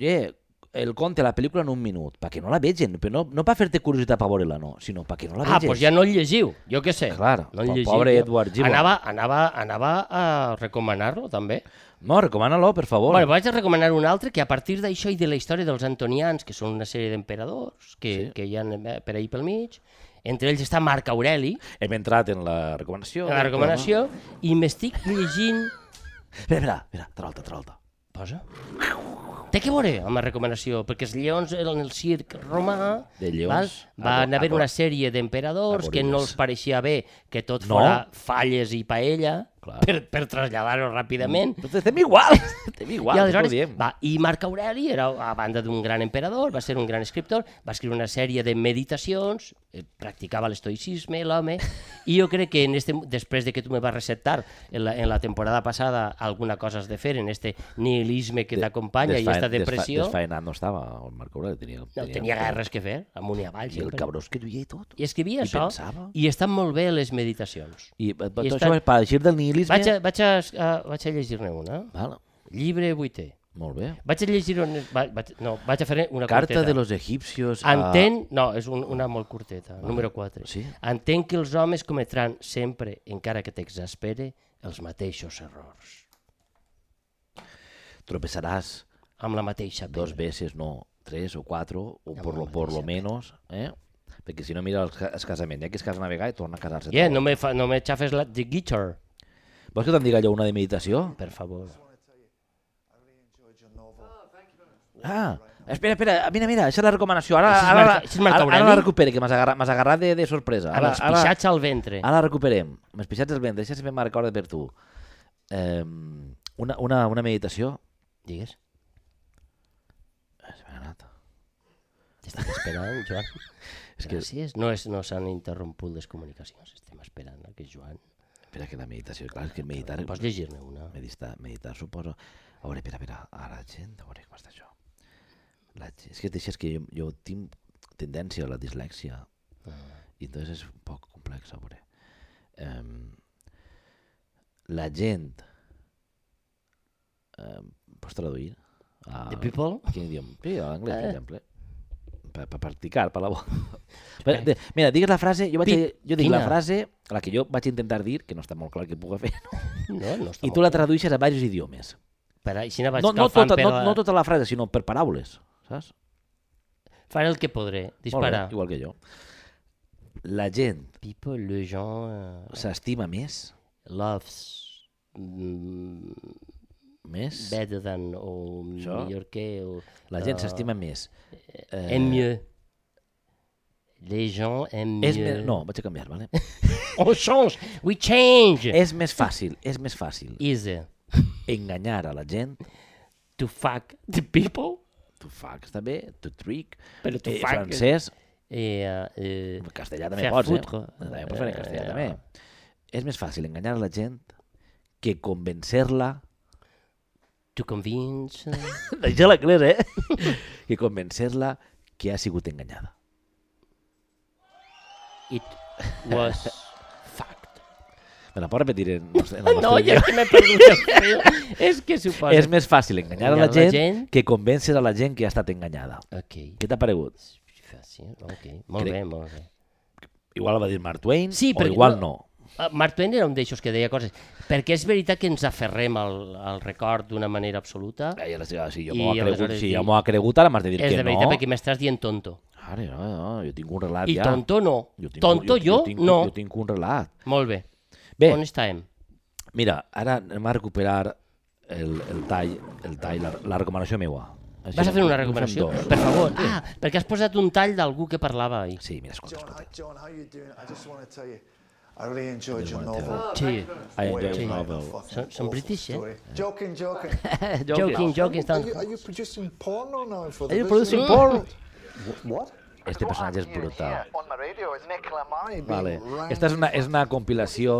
S1: yeah, el conte, la pel·lícula en un minut, perquè no la vegin, però no, no per fer-te curiositat per veure-la, no, sinó perquè no la
S2: Ah,
S1: vegis.
S2: doncs pues ja no el llegiu, jo què sé.
S1: Clar,
S2: no el
S1: pel
S2: llegiu,
S1: pobre
S2: jo.
S1: Edward Gibbon.
S2: Anava, anava, anava a recomanar-lo, també.
S1: No, recomana-lo, per favor.
S2: Bueno, vaig a recomanar un altre que a partir d'això i de la història dels antonians, que són una sèrie d'emperadors que, sí. que hi ha per ahir pel mig, entre ells està Marc Aureli,
S1: Hem entrat en la recomanació.
S2: a la
S1: del programa.
S2: recomanació, i m'estic llegint...
S1: Espera, espera, espera, trolta, trolta.
S2: Posa. Té que veure amb la recomanació, perquè els lleons en el circ romà
S1: De lleons
S2: val, van
S1: a-
S2: haver
S1: a-
S2: una sèrie d'emperadors que no
S1: gorilles.
S2: els pareixia bé que tot
S1: No.
S2: no. fora falles i paella
S1: Clar.
S2: per, per traslladar-ho ràpidament.
S1: Però estem igual, estem
S2: I
S1: igual, no
S2: aleshores,
S1: ho diem.
S2: va, i Marc Aureli era, a banda d'un gran emperador, va ser un gran escriptor, va escriure una sèrie de meditacions, eh, practicava l'estoïcisme, l'home, i jo crec que en este, després de que tu me vas receptar en la, en la temporada passada alguna cosa has de fer en este nihilisme que t'acompanya i
S1: Desfa-
S2: esta
S1: desfa-
S2: depressió,
S1: Desfaenat no estava, el Marc Aureli tenia...
S2: no tenia gaire res que fer, amunt i avall.
S1: I el
S2: sempre.
S1: cabró es que duia i tot.
S2: I escrivia
S1: I
S2: això,
S1: pensava.
S2: i estan molt bé les meditacions.
S1: I, eh, tot
S2: I
S1: això
S2: estan-
S1: és per eixir del nihilisme...
S2: Vaig a, vaig a, a, vaig a llegir-ne una.
S1: Val,
S2: Llibre 8è.
S1: molt bé.
S2: Vaig a llegir... Un, va, vaig, no, vaig a fer una
S1: Carta
S2: curteta.
S1: de los egipcios a...
S2: Entén... No, és un, una molt curteta, número 4.
S1: Ah. Sí.
S2: Entenc que els homes cometran sempre, encara que t'exaspere, els mateixos errors.
S1: Tropezarás
S2: Amb la mateixa pena.
S1: dos veces, no, tres o cuatro, o
S2: Amb
S1: por
S2: la
S1: lo, por lo
S2: mateixa
S1: menos, eh? Perquè si no eh? mira el, ca- el casament, ja que es casa una vegada i torna a casar-se.
S2: Yeah,
S1: tot.
S2: no me, fa, no me xafes la de guitar.
S1: Vols que te'n digui allò una de meditació?
S2: Per favor.
S1: Ah, espera, espera, mira, mira, això és la recomanació. Ara,
S2: Això és
S1: ara,
S2: Marc-
S1: la-
S2: això és Marc
S1: ara, ara
S2: Aureli?
S1: la recupere, que m'has agarrat, m'has agarrat de, de sorpresa.
S2: Amb
S1: Ara,
S2: els
S1: ara,
S2: pixats al ventre.
S1: ara la recuperem. M'has pixats el ventre, això sempre m'acorda per tu. Eh, una, una, una meditació.
S2: Digues.
S1: Eh, Se m'ha anat.
S2: T'estem esperant, Joan.
S1: És que,
S2: Gràcies. No, és, no s'han interromput les comunicacions. Estem esperant a que Joan...
S1: espera, que la meditació, clar, és que meditar...
S2: Pots llegir-ne una?
S1: Meditar, meditar suposo... A veure, espera, espera, a la gent, a veure com està això. La gent, és que deixes que jo, jo tinc tendència a la dislèxia
S2: Ah.
S1: i entonces és un poc complex, a veure. Um, la gent... Um, pots traduir? A,
S2: The people?
S1: Quin idioma? Sí, a l'anglès,
S2: Eh.
S1: per exemple. Per, per practicar, per la boca. Bé, de- Mira, digues la frase, jo, vaig,
S2: Pi-
S1: a dir- jo dic la
S2: quina?
S1: frase, la que jo vaig intentar dir, que no està molt clar que puga fer,
S2: No, no està
S1: i tu la tradueixes a diversos idiomes.
S2: Per així vaig
S1: No, no,
S2: calfant
S1: tota,
S2: per
S1: no,
S2: la...
S1: no tota la frase, sinó per paraules, saps?
S2: Faré el que podré.
S1: Molt
S2: Disparar.
S1: Bé, igual que jo. La gent
S2: People, le gens, eh,
S1: s'estima més,
S2: loves mm,
S1: més...
S2: better than oh, o
S1: Això.
S2: millor que o,
S1: La gent
S2: eh,
S1: s'estima més.
S2: eh, aime mieux. Les gens aiment
S1: És
S2: mieux.
S1: me... No, vaig a canviar, vale?
S2: On change, we change.
S1: és més fàcil, és més fàcil
S2: Easy
S1: enganyar a la gent,
S2: to fuck the people.
S1: to fuck està bé, to trick,
S2: Però to
S1: eh,
S2: fuck-
S1: francès,
S2: Eh, eh,
S1: en castellà també
S2: Fer
S1: pots,
S2: fotre.
S1: eh? També pots fer en castellà,
S2: Eh,
S1: també. És més fàcil enganyar a la gent que convencer-la
S2: to convince.
S1: Deixa l'anglès, eh? que convencer-la que ha sigut enganyada.
S2: It was fucked.
S1: Me la pot repetir en, eh, no sé, en el
S2: No,
S1: nostre
S2: jo
S1: idioma?
S2: és que m'he perdut el fil. És que suposa...
S1: És més fàcil enganyar a la
S2: Enganyar
S1: gent,
S2: la gent.
S1: que convèncer a la gent que ha estat enganyada.
S2: Ok.
S1: Què t'ha paregut?
S2: Fàcil, ok. Molt
S1: Crec-
S2: bé, molt bé.
S1: Igual va dir Mark Twain,
S2: Sí,
S1: o
S2: perquè
S1: igual no.
S2: no- Ah, Mark Twain era un d'eixos que deia coses, perquè és veritat que ens aferrem al, al record d'una manera absoluta.
S1: Ai, aleshores, si jo
S2: I
S1: m'ho ha cregut,
S2: aleshores
S1: si
S2: dir-
S1: jo m'ho ha cregut, ara m'has de dir
S2: és
S1: Eh, que
S2: de veritat
S1: no.
S2: perquè m'estàs dient tonto.
S1: Ara, no, no, jo tinc un relat
S2: I
S1: ja.
S2: tonto no.
S1: Jo tinc,
S2: tonto jo,
S1: tinc,
S2: no.
S1: Jo tinc un relat.
S2: Molt bé.
S1: Bé,
S2: On estàvem?
S1: mira, ara anem a recuperar el, el tall, el tall la, la recomanació meua. Així
S2: Vas a fer una
S1: en fem
S2: recomanació?
S1: dos.
S2: Per favor. Ah, perquè has posat un tall d'algú que parlava ahir.
S1: Sí, mira, escolta,
S4: John,
S1: escolta.
S4: hi- John, how you doing? I just want to tell you, I really enjoyed your
S1: wanna tell
S4: novel.
S2: Sí.
S1: I enjoy
S4: Boy, it was a
S1: novel.
S4: fucking
S2: Some- some
S4: awful
S2: British, eh?
S4: story. Joking, joking.
S2: Joking, joking.
S4: are,
S2: Stand...
S4: you, are you producing porno now for the
S1: you producing
S4: business?
S1: porn?
S4: What?
S1: Este personatge és brutal.
S4: On my radio is Nick Lamar being
S1: Vale.
S4: round
S1: Esta és una, és una compilació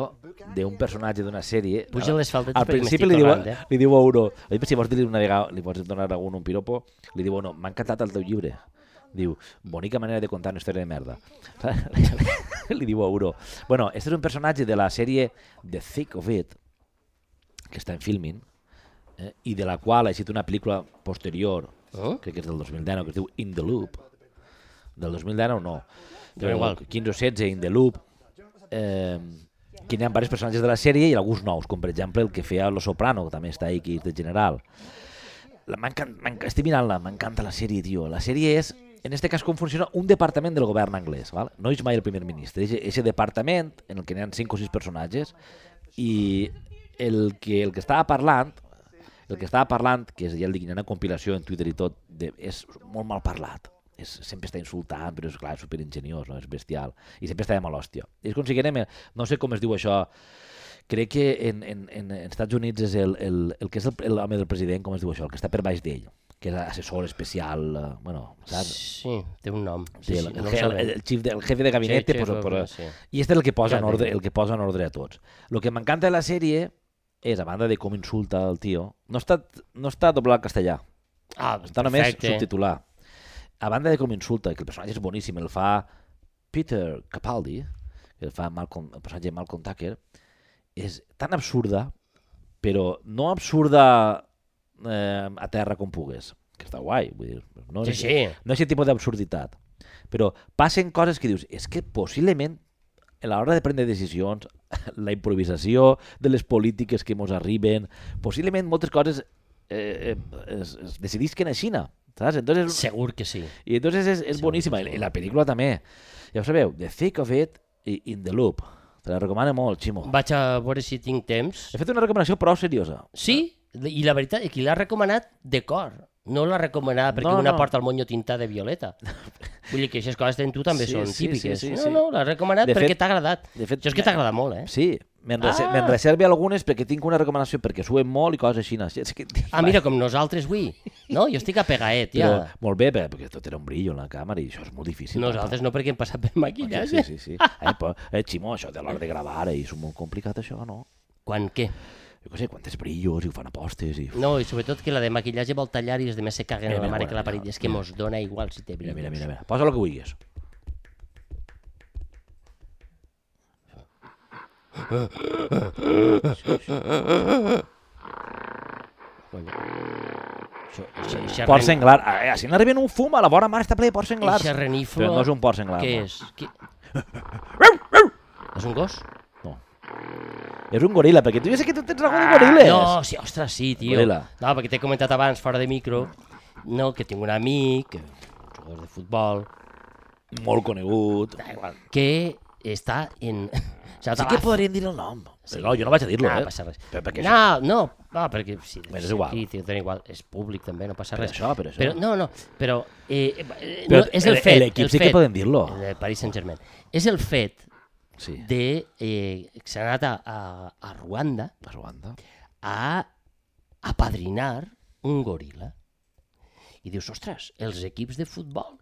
S1: d'un personatge d'una sèrie.
S2: Puja les faldetes
S1: Al
S2: perquè
S1: principi
S2: m'estic
S1: li diu,
S2: tornant, eh?
S1: li diu a uno, oi, si vols dir-li una vegada, li pots donar a algun un piropo, li diu, no, m'ha encantat el teu llibre. Diu, bonica manera de contar una història de merda. li diu a uno, bueno, este és un personatge de la sèrie The Thick of It, que està en filming, eh, i de la qual ha existit una pel·lícula posterior,
S2: Oh?
S1: crec que és del 2019, que es diu In the Loop, del 2019 no, però
S2: igual.
S1: igual. 15 o 16, In the Loop, eh, que hi ha diversos personatges de la sèrie i alguns nous, com per exemple el que feia Lo Soprano, que també està ahí, que és de general. La, m'encan- m'enca- estic mirant-la, m'encanta la sèrie, tio. La sèrie és, en este cas, com funciona un departament del govern anglès. Val? No és mai el primer ministre, és aquest departament en el que n'hi ha 5 o 6 personatges i el que, el que estava parlant el que estava parlant, que és, ja el dic, hi ha una compilació en Twitter i tot, de, és molt mal parlat. És, sempre està insultant, però és clar, és superenginyós, no? és bestial. I sempre està de mal hòstia. És com si anem, a- no sé com es diu això, crec que en, en, en, en Estats Units és el, el, el que és el- el- l'home del president, com es diu això, el que està per baix d'ell, que és assessor especial, eh, bueno, saps?
S2: Sí, té un nom.
S1: Sí,
S2: Sí,
S1: el,
S2: sí,
S1: el,
S2: no ho
S1: el,
S2: sabem.
S1: el, xef de- el jefe de gabinete,
S2: Sí,
S1: pues,
S2: chef of-
S1: pues,
S2: sí.
S1: i este és el que posa, en
S2: Cada
S1: ordre,
S2: dia.
S1: el que posa en ordre a tots. El que m'encanta de la sèrie és, a banda de com insulta el tio, no està, no està doblat al castellà,
S2: Ah,
S1: està només
S2: perfecte.
S1: subtitular. A banda de com insulta, que el personatge és boníssim, el fa Peter Capaldi, que el fa Malcolm, el personatge de Malcolm Tucker, és tan absurda, però no absurda eh, a terra com pugues, que està guai, vull dir, no,
S2: Sí,
S1: és,
S2: sí.
S1: no és aquest tipus d'absurditat, però passen coses que dius, és que possiblement a l'hora de prendre decisions, la improvisació de les polítiques que ens arriben, possiblement moltes coses eh, eh, es, es decidisquen a Xina, saps? Entonces,
S2: Segur que sí.
S1: I entonces és, és boníssima, i la pel·lícula també. Ja ho sabeu, The Thick of It i In the Loop, Te la recomano molt, Ximo.
S2: Vaig a veure si tinc temps.
S1: He fet una recomanació prou seriosa.
S2: Sí, i la veritat és que l'ha recomanat de cor. No l'ha recomanada perquè
S1: No,
S2: no, una
S1: no.
S2: porta el monyo tintat de violeta. Vull dir que aquestes coses en tu també
S1: Sí,
S2: són
S1: sí,
S2: típiques.
S1: sí, sí,
S2: no,
S1: sí.
S2: no, l'ha recomanat
S1: De
S2: perquè
S1: fet-
S2: t'ha agradat.
S1: de fet,
S2: Això és que
S1: me-
S2: t'ha agradat molt, eh?
S1: Sí, me'n reser
S2: Ah.
S1: me'n reserve algunes perquè tinc una recomanació, perquè suen molt i coses així. no? És que...
S2: Ah, mira, com nosaltres avui. No, jo estic apegaet, ja.
S1: Però, molt bé, bé, perquè tot era un brillo en la càmera i això és molt difícil.
S2: Nosaltres no, perquè hem passat per
S1: Ja,
S2: maquillatge.
S1: sí, sí, sí. eh, però, eh, Ximo, això de l'hora de gravar eh, és molt complicat, això, no?
S2: Quan què?
S1: Jo què sé, quantes brillos i ho fan apostes i...
S2: No, i sobretot que la de maquillatge vol tallar i els demés se caguen
S1: Mira,
S2: a la
S1: mira,
S2: mare
S1: bona,
S2: que la
S1: mira,
S2: parit. És que mos dona igual si té
S1: Mira,
S2: brillos.
S1: mira, mira, mira. Posa el que vulguis.
S2: Això, això, això,
S1: Porc senglar. Eh, si n'arriben un fum, a la vora mar està ple de porc senglars.
S2: Eixe reniflo...
S1: Però no és un porc senglar.
S2: Què
S1: no.
S2: és? Qui... és un gos?
S1: No. És un goril·la, perquè tu ja sé que tu tens alguna de goril·les.
S2: Ah, No, sí, ostres, sí, tio.
S1: Goril·la.
S2: No, perquè t'he comentat abans, fora de micro, no, que tinc un amic, que- jugador de futbol,
S1: Molt conegut.
S2: que està en... Ja
S1: Sí que podríem dir el nom. Sí. No, jo no vaig a dir-lo,
S2: no,
S1: eh?
S2: Ah, passa res.
S1: Però perquè
S2: no, no, no, perquè sí,
S1: Bé, és igual.
S2: Aquí, tio, dona igual. És públic també, no passa
S1: Per
S2: res.
S1: això, per això.
S2: Però, no, no, però, eh, eh, eh,
S1: Però
S2: no, és el
S1: el-
S2: fet.
S1: l'equip
S2: el
S1: sí que
S2: fet,
S1: podem dir-lo.
S2: El de Paris Saint-Germain. És el fet
S1: Sí.
S2: de eh, que s'ha anat a, a, a Ruanda
S1: A Ruanda.
S2: a apadrinar un goril·la. I dius, ostres, els equips de futbol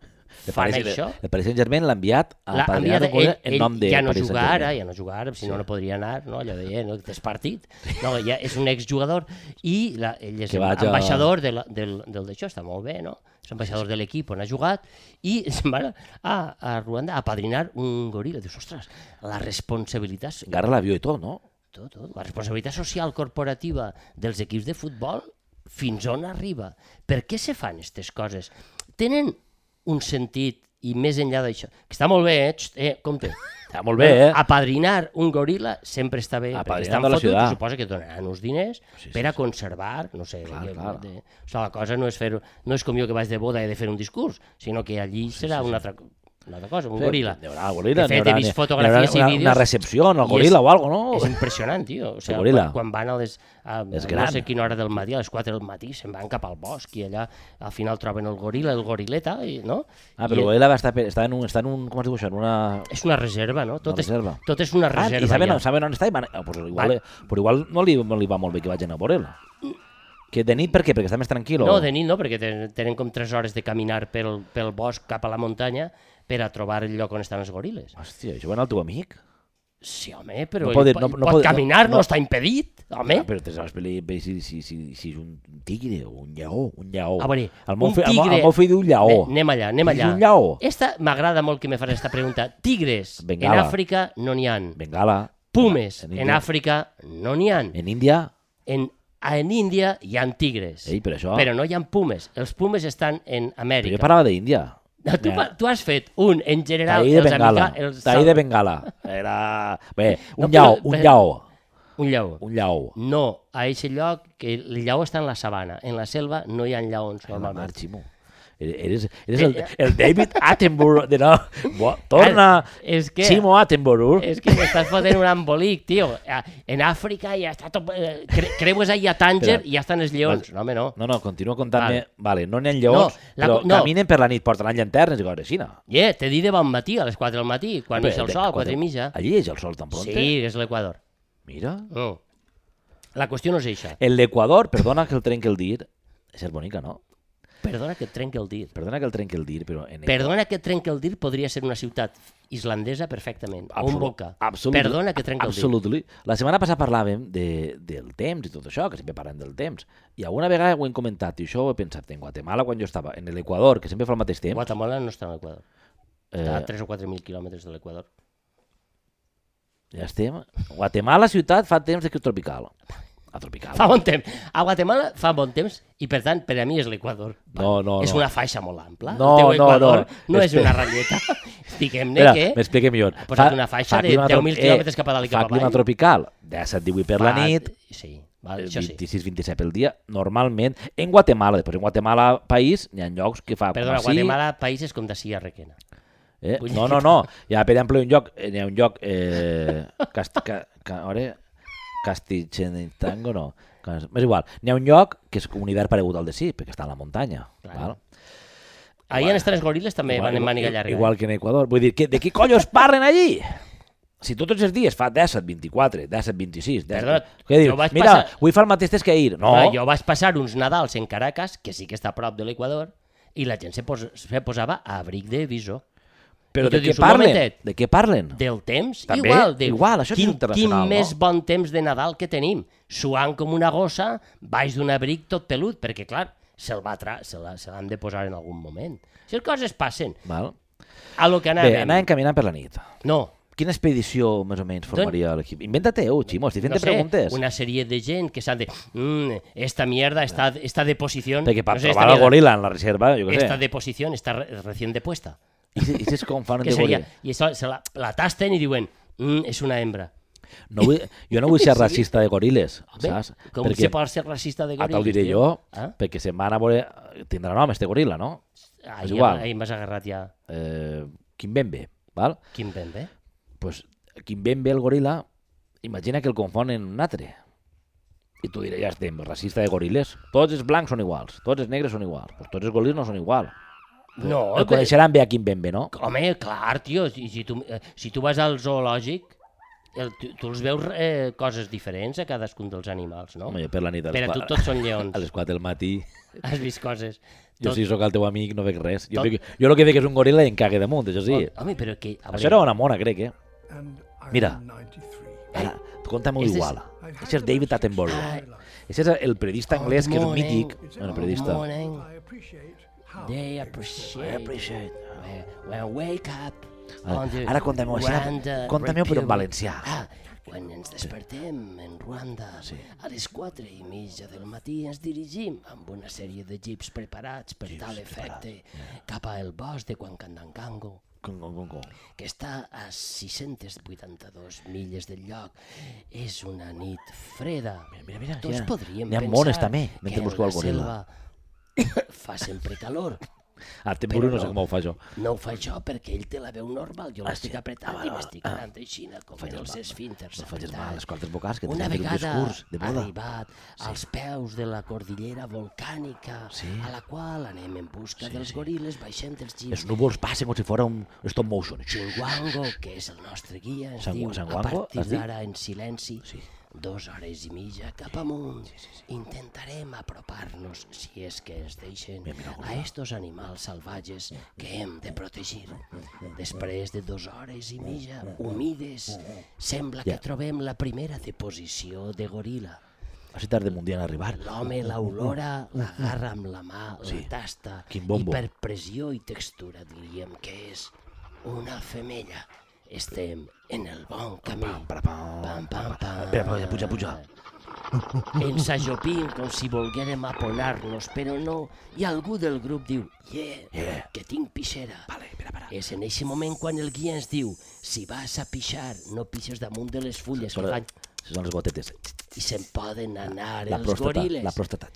S1: De
S2: fan
S1: Paris-
S2: això?
S1: El Paris Saint-Germain l'ha enviat a
S2: L'ha enviat
S1: Padrinar de Goril·la en
S2: ell
S1: nom de
S2: ja no
S1: Paris
S2: jugar ara,
S1: Saint-Germain.
S2: ja no jugar ara, si no, no podria anar, no? allò de, eh, no, tens partit. No, ja és un exjugador i la, ell és
S1: Que vaig a-
S2: ambaixador de la, del, del d'això, està molt bé, no? És ambaixador de l'equip on ha jugat i se'n va a, a Ruanda a padrinar un goril·la. Dius, ostres, la responsabilitat
S1: Encara l'avió i tot, no?
S2: tot, tot. La responsabilitat social corporativa dels equips de futbol, fins on arriba? Per què se fan aquestes coses? Tenen un sentit i més enllà d'això, que està molt bé, eh? Xt, eh compte.
S1: Està molt bé, eh?
S2: Apadrinar un goril·la sempre està bé,
S1: Apadrinar
S2: perquè estan
S1: de la
S2: fotuts
S1: ciutat.
S2: i suposa que et donaran uns diners
S1: Sí, sí,
S2: per a conservar, no sé,
S1: Clar,
S2: que-
S1: clar.
S2: De... O sigui, la cosa no és fer no és com jo que vaig de boda i he de fer un discurs, sinó que allí serà una, altra, una altra cosa, un
S1: Sí,
S2: goril·la.
S1: N'hi haurà el goril·la.
S2: De fet,
S1: n'hi
S2: he
S1: haurà-
S2: vist
S1: n'hi haurà
S2: fotografies i
S1: una- Una
S2: vídeos
S1: recepció en el
S2: i
S1: goril·la
S2: és-
S1: o alguna
S2: És
S1: cosa, no?
S2: impressionant, tio. O sigui,
S1: goril·la.
S2: quan, quan van a les... A, a
S1: eh, És
S2: no
S1: gran.
S2: sé quina hora del matí, a les 4 del matí, se'n van cap al bosc i allà al final troben el goril·la, el gorileta, i, no?
S1: Ah, però el
S2: I
S1: goril·la va estar, per- està, en un, està en un... Com es diu això? En una...
S2: és una reserva, no? Tot,
S1: Una reserva.
S2: És, tot és una
S1: Ah,
S2: reserva.
S1: I saben,
S2: ja.
S1: saben on està? I van... Ah, pues igual,
S2: Van.
S1: però igual no li, no li va molt bé que vagin a veure Que de nit per què? Perquè està més tranquil? o-
S2: No, de nit no, perquè ten- tenen com 3 hores de caminar pel, pel bosc cap a la muntanya per a trobar el lloc on estan els goril·les.
S1: Hòstia, això va anar el teu amic?
S2: Sí, home, però
S1: No
S2: no
S1: pot-
S2: pot,
S1: no-
S2: pot,
S1: no pot-
S2: caminar, no,
S1: no- no.
S2: està impedit, home.
S1: Ah, però te saps pel·li, bé, si, si, si, si és un tigre o un lleó, un lleó.
S2: A veure,
S1: el meu,
S2: Ah, un
S1: fill, el, meu-
S2: tigre-
S1: el meu fill diu lleó.
S2: Bé, anem allà, anem
S1: És
S2: allà.
S1: un lleó.
S2: Esta m'agrada molt que me facis aquesta pregunta. Tigres,
S1: Bengala.
S2: en Àfrica no n'hi han.
S1: Bengala,
S2: Pumes,
S1: En
S2: en,
S1: Índia.
S2: Àfrica no n'hi han.
S1: en Índia,
S2: En, en Índia hi han tigres,
S1: ei, però això...
S2: però no hi han pumes. Els pumes estan en
S1: però
S2: Amèrica.
S1: jo parlava d'Índia.
S2: No, tu, pa- tu has fet un, en general,
S1: Taí de
S2: els
S1: Bengala.
S2: amica- els
S1: Taí
S2: sal-
S1: de Bengala. Era... Bé, un
S2: No,
S1: lleó,
S2: però-
S1: un
S2: però-
S1: lleó,
S2: un lleó.
S1: un lleó.
S2: No, a aquest lloc, que el lleó està en la sabana. En la selva no Eh, hi ha lleons,
S1: Home,
S2: normalment.
S1: Ximo. er, Eres, eres el, el David Attenborough. De no. Bo, torna,
S2: Ah, És que...
S1: Ximo Attenborough.
S2: És que m'estàs fotent un embolic, tio. Ah, En Àfrica ja està tot... eh, Cre creues ahir a Tànger
S1: Espera.
S2: i ja estan els lleons. No, home, no.
S1: No, no, continua contant-me.
S2: Vale.
S1: Vale. no n'hi ha lleons,
S2: No, la
S1: però
S2: co- no.
S1: caminen per la nit, portaran llanternes i coses així, no?
S2: Yeah, t'he dit de bon matí, a les 4 del matí, quan
S1: Bé,
S2: és el
S1: de-
S2: sol, a 4 i mitja.
S1: Allí és el sol tan pronte?
S2: Sí, és l'Equador.
S1: Mira.
S2: Mm. La qüestió no és això.
S1: El d'Equador, perdona que el trenqui el dir, és bonica, no?
S2: Perdona que et trenqui el dir.
S1: Perdona que el trenqui el dir, però... En
S2: Perdona que et trenqui el dir podria ser una ciutat islandesa perfectament. o un
S1: Absolut-
S2: volcà.
S1: absolut-
S2: Perdona que trenqui el dir.
S1: Absolutely. La setmana passada parlàvem de, del temps i tot això, que sempre parlem del temps. I alguna vegada ho hem comentat, i això ho he pensat en Guatemala quan jo estava, en l'Equador, que sempre fa el mateix temps.
S2: Guatemala no està a l'Equador. Està a
S1: Eh,
S2: 3 o 4 mil quilòmetres de l'Equador.
S1: ja estem. Guatemala, ciutat, fa temps de que és tropical. A tropical.
S2: Fa bon temps. A Guatemala fa bon temps i, per tant, per a mi és l'Equador.
S1: No, no,
S2: És
S1: no.
S2: una faixa molt ampla.
S1: No,
S2: el teu
S1: no,
S2: Equador
S1: no.
S2: no, és
S1: Espera.
S2: una ratlleta. Diguem-ne
S1: Espera,
S2: que...
S1: m'explica millor.
S2: ha posat una faixa de
S1: clima
S2: 10.000
S1: trop-
S2: quilòmetres cap a dalt i cap
S1: Fa clima
S2: avall.
S1: tropical, 17-18 per la
S2: fa-
S1: nit, Eh,
S2: Sí, val, això sí.
S1: 26-27 pel dia, normalment. En Guatemala, després en Guatemala, país, n'hi ha llocs que fa
S2: Perdona,
S1: com a sí,
S2: Guatemala, país és com de Sierra Requena.
S1: Eh?
S2: Vull
S1: No,
S2: dir-
S1: no, no. Hi ha, per exemple, un lloc, eh, n'hi ha un lloc... Eh, cast, ca, ca, a veure, Castigenitango, no. Cas- És igual. N'hi ha un lloc que és un hivern paregut al de sí, perquè està a la muntanya.
S2: Clar.
S1: Val?
S2: Ahir en estan els goril·les també van en màniga llarga. eh?
S1: Igual que en Equador. Vull dir, que, de qui collos parlen allí? Si tu tots els dies fa 17, 24, 17, 26... 10,
S2: Perdona,
S1: què dius?
S2: jo vaig
S1: Mira,
S2: passar-
S1: vull fer el mateix test que ahir. No,
S2: Clar, jo vaig passar uns Nadals en Caracas, que sí que està a prop de l'Equador, i la gent se, pos se posava a abric de visor.
S1: però
S2: i tu
S1: de què
S2: dius, un
S1: parlen?
S2: momentet.
S1: De què parlen?
S2: Del temps,
S1: També,
S2: igual. De,
S1: igual, això és
S2: quin, Quin
S1: internacional, no?
S2: més bon temps de Nadal que tenim. Suant com una gossa, baix d'un abric tot pelut, perquè, clar, se'l va tra se la- se l'han de posar en algun moment. Si les coses passen,
S1: Val?
S2: a lo que
S1: Bé,
S2: anàvem...
S1: anàvem caminant per la nit.
S2: No,
S1: Quina expedició, més o menys, formaria l'equip? Inventa-te-ho, Ximo, estic fent
S2: Doncs- no sé,
S1: preguntes.
S2: una sèrie de gent que s'han de... Mm, esta mierda, esta, esta deposición...
S1: Perquè per
S2: no sé, esta
S1: trobar el
S2: mierda,
S1: goril·la en la reserva, jo què
S2: Esta
S1: sé.
S2: deposición está re- recién depuesta.
S1: I si- I si és com fan
S2: que
S1: de
S2: seria?
S1: goril·la?
S2: I això, se la, la tasten i diuen, mm, és una hembra.
S1: No vull, jo no vull ser racista de goril·les,
S2: Bé,
S1: saps?
S2: com se pot ser racista de
S1: Ah,
S2: goril·les?
S1: te'l diré
S2: tio?
S1: jo,
S2: Ah?
S1: perquè se'n van a veure... Tindrà nom, este goril·la, no?
S2: Ah,
S1: és
S2: ja-
S1: igual.
S2: Ahir m'has agarrat ja. eh?
S1: Eh, Kimbembe, val?
S2: Quin ben bé.
S1: Pues Kimbembe, el goril·la, imagina que el confonen un altre. I tu diré, ja estem, racista de goril·les. Tots els blancs són iguals, tots els negres són iguals, pues tots els goril·les no són iguals.
S2: No, però,
S1: El coneixeran bé a Kimbembe, no?
S2: home, clar, tio, si, si, tu, eh, si tu vas al zoològic, el, tu, tu els veus eh, coses diferents a cadascun dels animals, no?
S1: Home, jo per la nit a
S2: per a
S1: les,
S2: tu
S1: qua-
S2: tots són lleons.
S1: a les 4 del matí,
S2: Has vist coses.
S1: jo
S2: Tot-
S1: si sóc el teu amic no veig res. Jo,
S2: tot-
S1: veig, jo el que veig és un goril·la i em cague damunt, això sí.
S2: Home, però que... a
S1: Això
S2: veure,
S1: era una mona, crec, eh? Mira. Ara, conta'm-ho
S2: Este és-
S1: igual. Això és David
S2: Ah.
S1: Attenborough. Això és el periodista anglès que és
S2: morning.
S1: mític. Bueno, periodista.
S2: Morning. They appreciate.
S1: Eh,
S2: When, when I wake up.
S1: Ara-
S2: on the
S1: ara contem-ho així,
S2: Rwanda
S1: contem-ho, però en
S2: Republic.
S1: valencià.
S2: Ah, quan ens despertem en Ruanda, sí. a les 4 i mitja del matí ens dirigim amb una sèrie de jeeps preparats per tal efecte cap al bosc de Huancandangango
S1: Con, con, con, con.
S2: que està a 682 milles del lloc. És una nit freda. Mira,
S1: mira, mira,
S2: Tots
S1: ja.
S2: podríem
S1: N'hi ha
S2: pensar
S1: mones, també, mentre
S2: que en
S1: busco
S2: la
S1: el goril·la.
S2: selva fa sempre calor.
S1: Attenborough no sé
S2: Però
S1: com ho fa això.
S2: No ho fa jo perquè ell té la veu normal. Jo
S1: Ah,
S2: l'estic
S1: sí?
S2: apretant i m'estic anant així com
S1: facis
S2: els
S1: mal,
S2: esfínters.
S1: No facis
S2: apretant.
S1: mal a les quartes vocals, que
S2: Una
S1: tens un
S2: vegada
S1: discurs de boda.
S2: arribat als peus de la cordillera volcànica,
S1: Sí.
S2: a la qual anem en busca dels goril·les, baixem dels
S1: Els
S2: llibres,
S1: núvols passen com si fora un stop motion.
S2: Xinguango, que és el nostre guia, ens
S1: Sangu-
S2: diu, a
S1: Sanguango,
S2: partir
S1: has dit?
S2: d'ara en silenci,
S1: Sí.
S2: dues hores i mitja cap amunt, intentarem apropar-nos, si és que ens deixen, a estos animals salvatges que hem de protegir. Després de dues hores i mitja, humides, sembla que
S1: Ja.
S2: trobem la primera deposició de goril·la.
S1: Així tarda mundial a arribar.
S2: L'home l'olora, l'agarra amb la mà, sí. la tasta,
S1: Quin
S2: i
S1: bombo.
S2: per pressió i textura diríem que és una femella. Estem en el bon camí. Pam, pam, pam, pam.
S1: Espera, espera, puja, puja.
S2: Ens ajopim com si volguérem aponar-nos, però no. I algú del grup diu, yeah,
S1: Yeah.
S2: que tinc pixera.
S1: Vale, espera, espera.
S2: És en eixe moment quan el guia ens diu, si vas a pixar, no pixes damunt de les fulles que
S1: Fora-
S2: fan
S1: Si són les gotetes.
S2: i se'n poden anar
S1: La
S2: els
S1: pròstata,
S2: goril·les.
S1: la pròstata.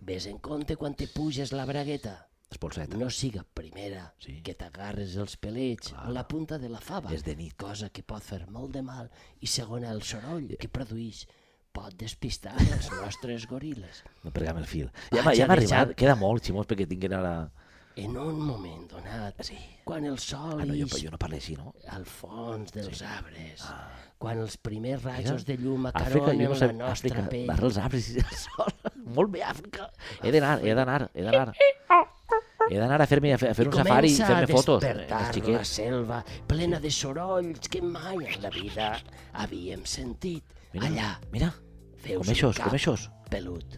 S2: Ves en compte quan te puges la bragueta.
S1: Espolseta.
S2: No siga primera
S1: Sí.
S2: que t'agarres els pelets o la punta de la fava,
S1: És de nit.
S2: cosa que pot fer molt de mal, i segona el soroll que produeix pot despistar els nostres goril·les.
S1: No pregam el fil.
S2: Vaig
S1: Ja, m'ha- ja
S2: a
S1: m'ha
S2: deixar-
S1: arribat. Queda molt, Ximós, perquè tinc que anar a...
S2: En un moment donat,
S1: Sí.
S2: quan el sol
S1: Ah, no, jo,
S2: ix
S1: jo no parlo així, no?
S2: al fons dels arbres, quan els primers rajos de llum
S1: Ah. Àfrica,
S2: acaronen
S1: jo no
S2: la
S1: sé,
S2: nostra
S1: Àfrica,
S2: pell...
S1: barra els arbres i el sol. Molt bé, Àfrica. He d'anar, he d'anar, he d'anar. He d'anar a fer-me a fer, a fer un safari i
S2: comença
S1: fer-me fotos.
S2: a
S1: eh,
S2: despertar
S1: Els
S2: la
S1: xiquets.
S2: selva plena de sorolls que mai en la vida havíem sentit.
S1: Mira,
S2: Allà,
S1: mira,
S2: veus
S1: com
S2: un
S1: eixos,
S2: cap
S1: com eixos.
S2: pelut.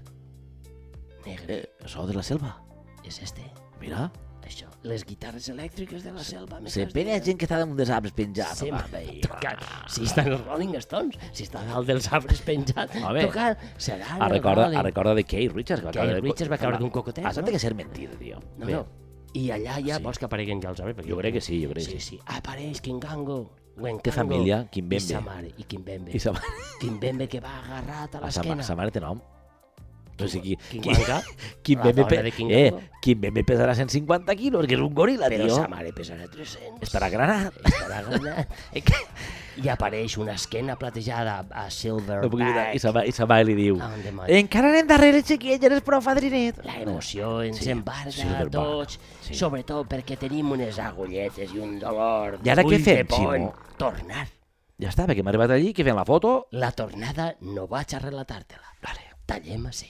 S2: Negre,
S1: Eh, so de la selva.
S2: és este,
S1: Mira.
S2: això. Les guitarres elèctriques de la selva. més
S1: Se
S2: les
S1: pena
S2: diuen.
S1: gent que està damunt dels arbres penjats.
S2: Sí, va, si estan els Rolling Stones, si està dalt dels arbres penjat,
S1: Home,
S2: tocant, seran
S1: A
S2: els
S1: Ah, recorda, a
S2: Rolling.
S1: recorda de Kate Richards. Que va
S2: Keith
S1: caure de co-
S2: Richards va caure d'un cocotet,
S1: Ah, això
S2: no?
S1: té que ser mentida, tio.
S2: No,
S1: Bé, Ah,
S2: no. I allà ja sí. vols que apareguin ja els arbres? Perquè
S1: Jo crec que sí, jo crec
S2: sí.
S1: que sí.
S2: sí. Apareix Kingango. Wenkango,
S1: Té família,
S2: I
S1: Kimbembe.
S2: sa mare, i Kimbembe.
S1: I sa,
S2: Kimbembe que va agarrat a
S1: a sa, ma-
S2: l'esquena.
S1: sa mare té nom. No sé qui...
S2: King
S1: qui-
S2: Wanga,
S1: Quin
S2: la
S1: meme,
S2: dona
S1: pe...
S2: de King
S1: eh,
S2: Kongo.
S1: quin meme pesarà 150 quilos, que és un goril·la,
S2: però
S1: tio.
S2: sa mare pesarà 300.
S1: Estarà granat.
S2: Estarà granat. I apareix una esquena platejada a
S1: No puc dir,
S2: Silverback.
S1: I sa, ma- I sa mare li diu...
S2: Ah, on de mare.
S1: Encara anem darrere, xiquet, ja eres prou fadrinet.
S2: La emoció ens
S1: Sí,
S2: embarga
S1: sí, del
S2: a tots,
S1: sí.
S2: sobretot perquè tenim unes agulletes i un dolor
S1: I ara què
S2: d'ull de
S1: fem,
S2: pont.
S1: Ximo?
S2: Tornar.
S1: Ja està, perquè hem arribat allí, que fem la foto...
S2: La tornada no vaig a relatar-te-la. Vale. Tallem així.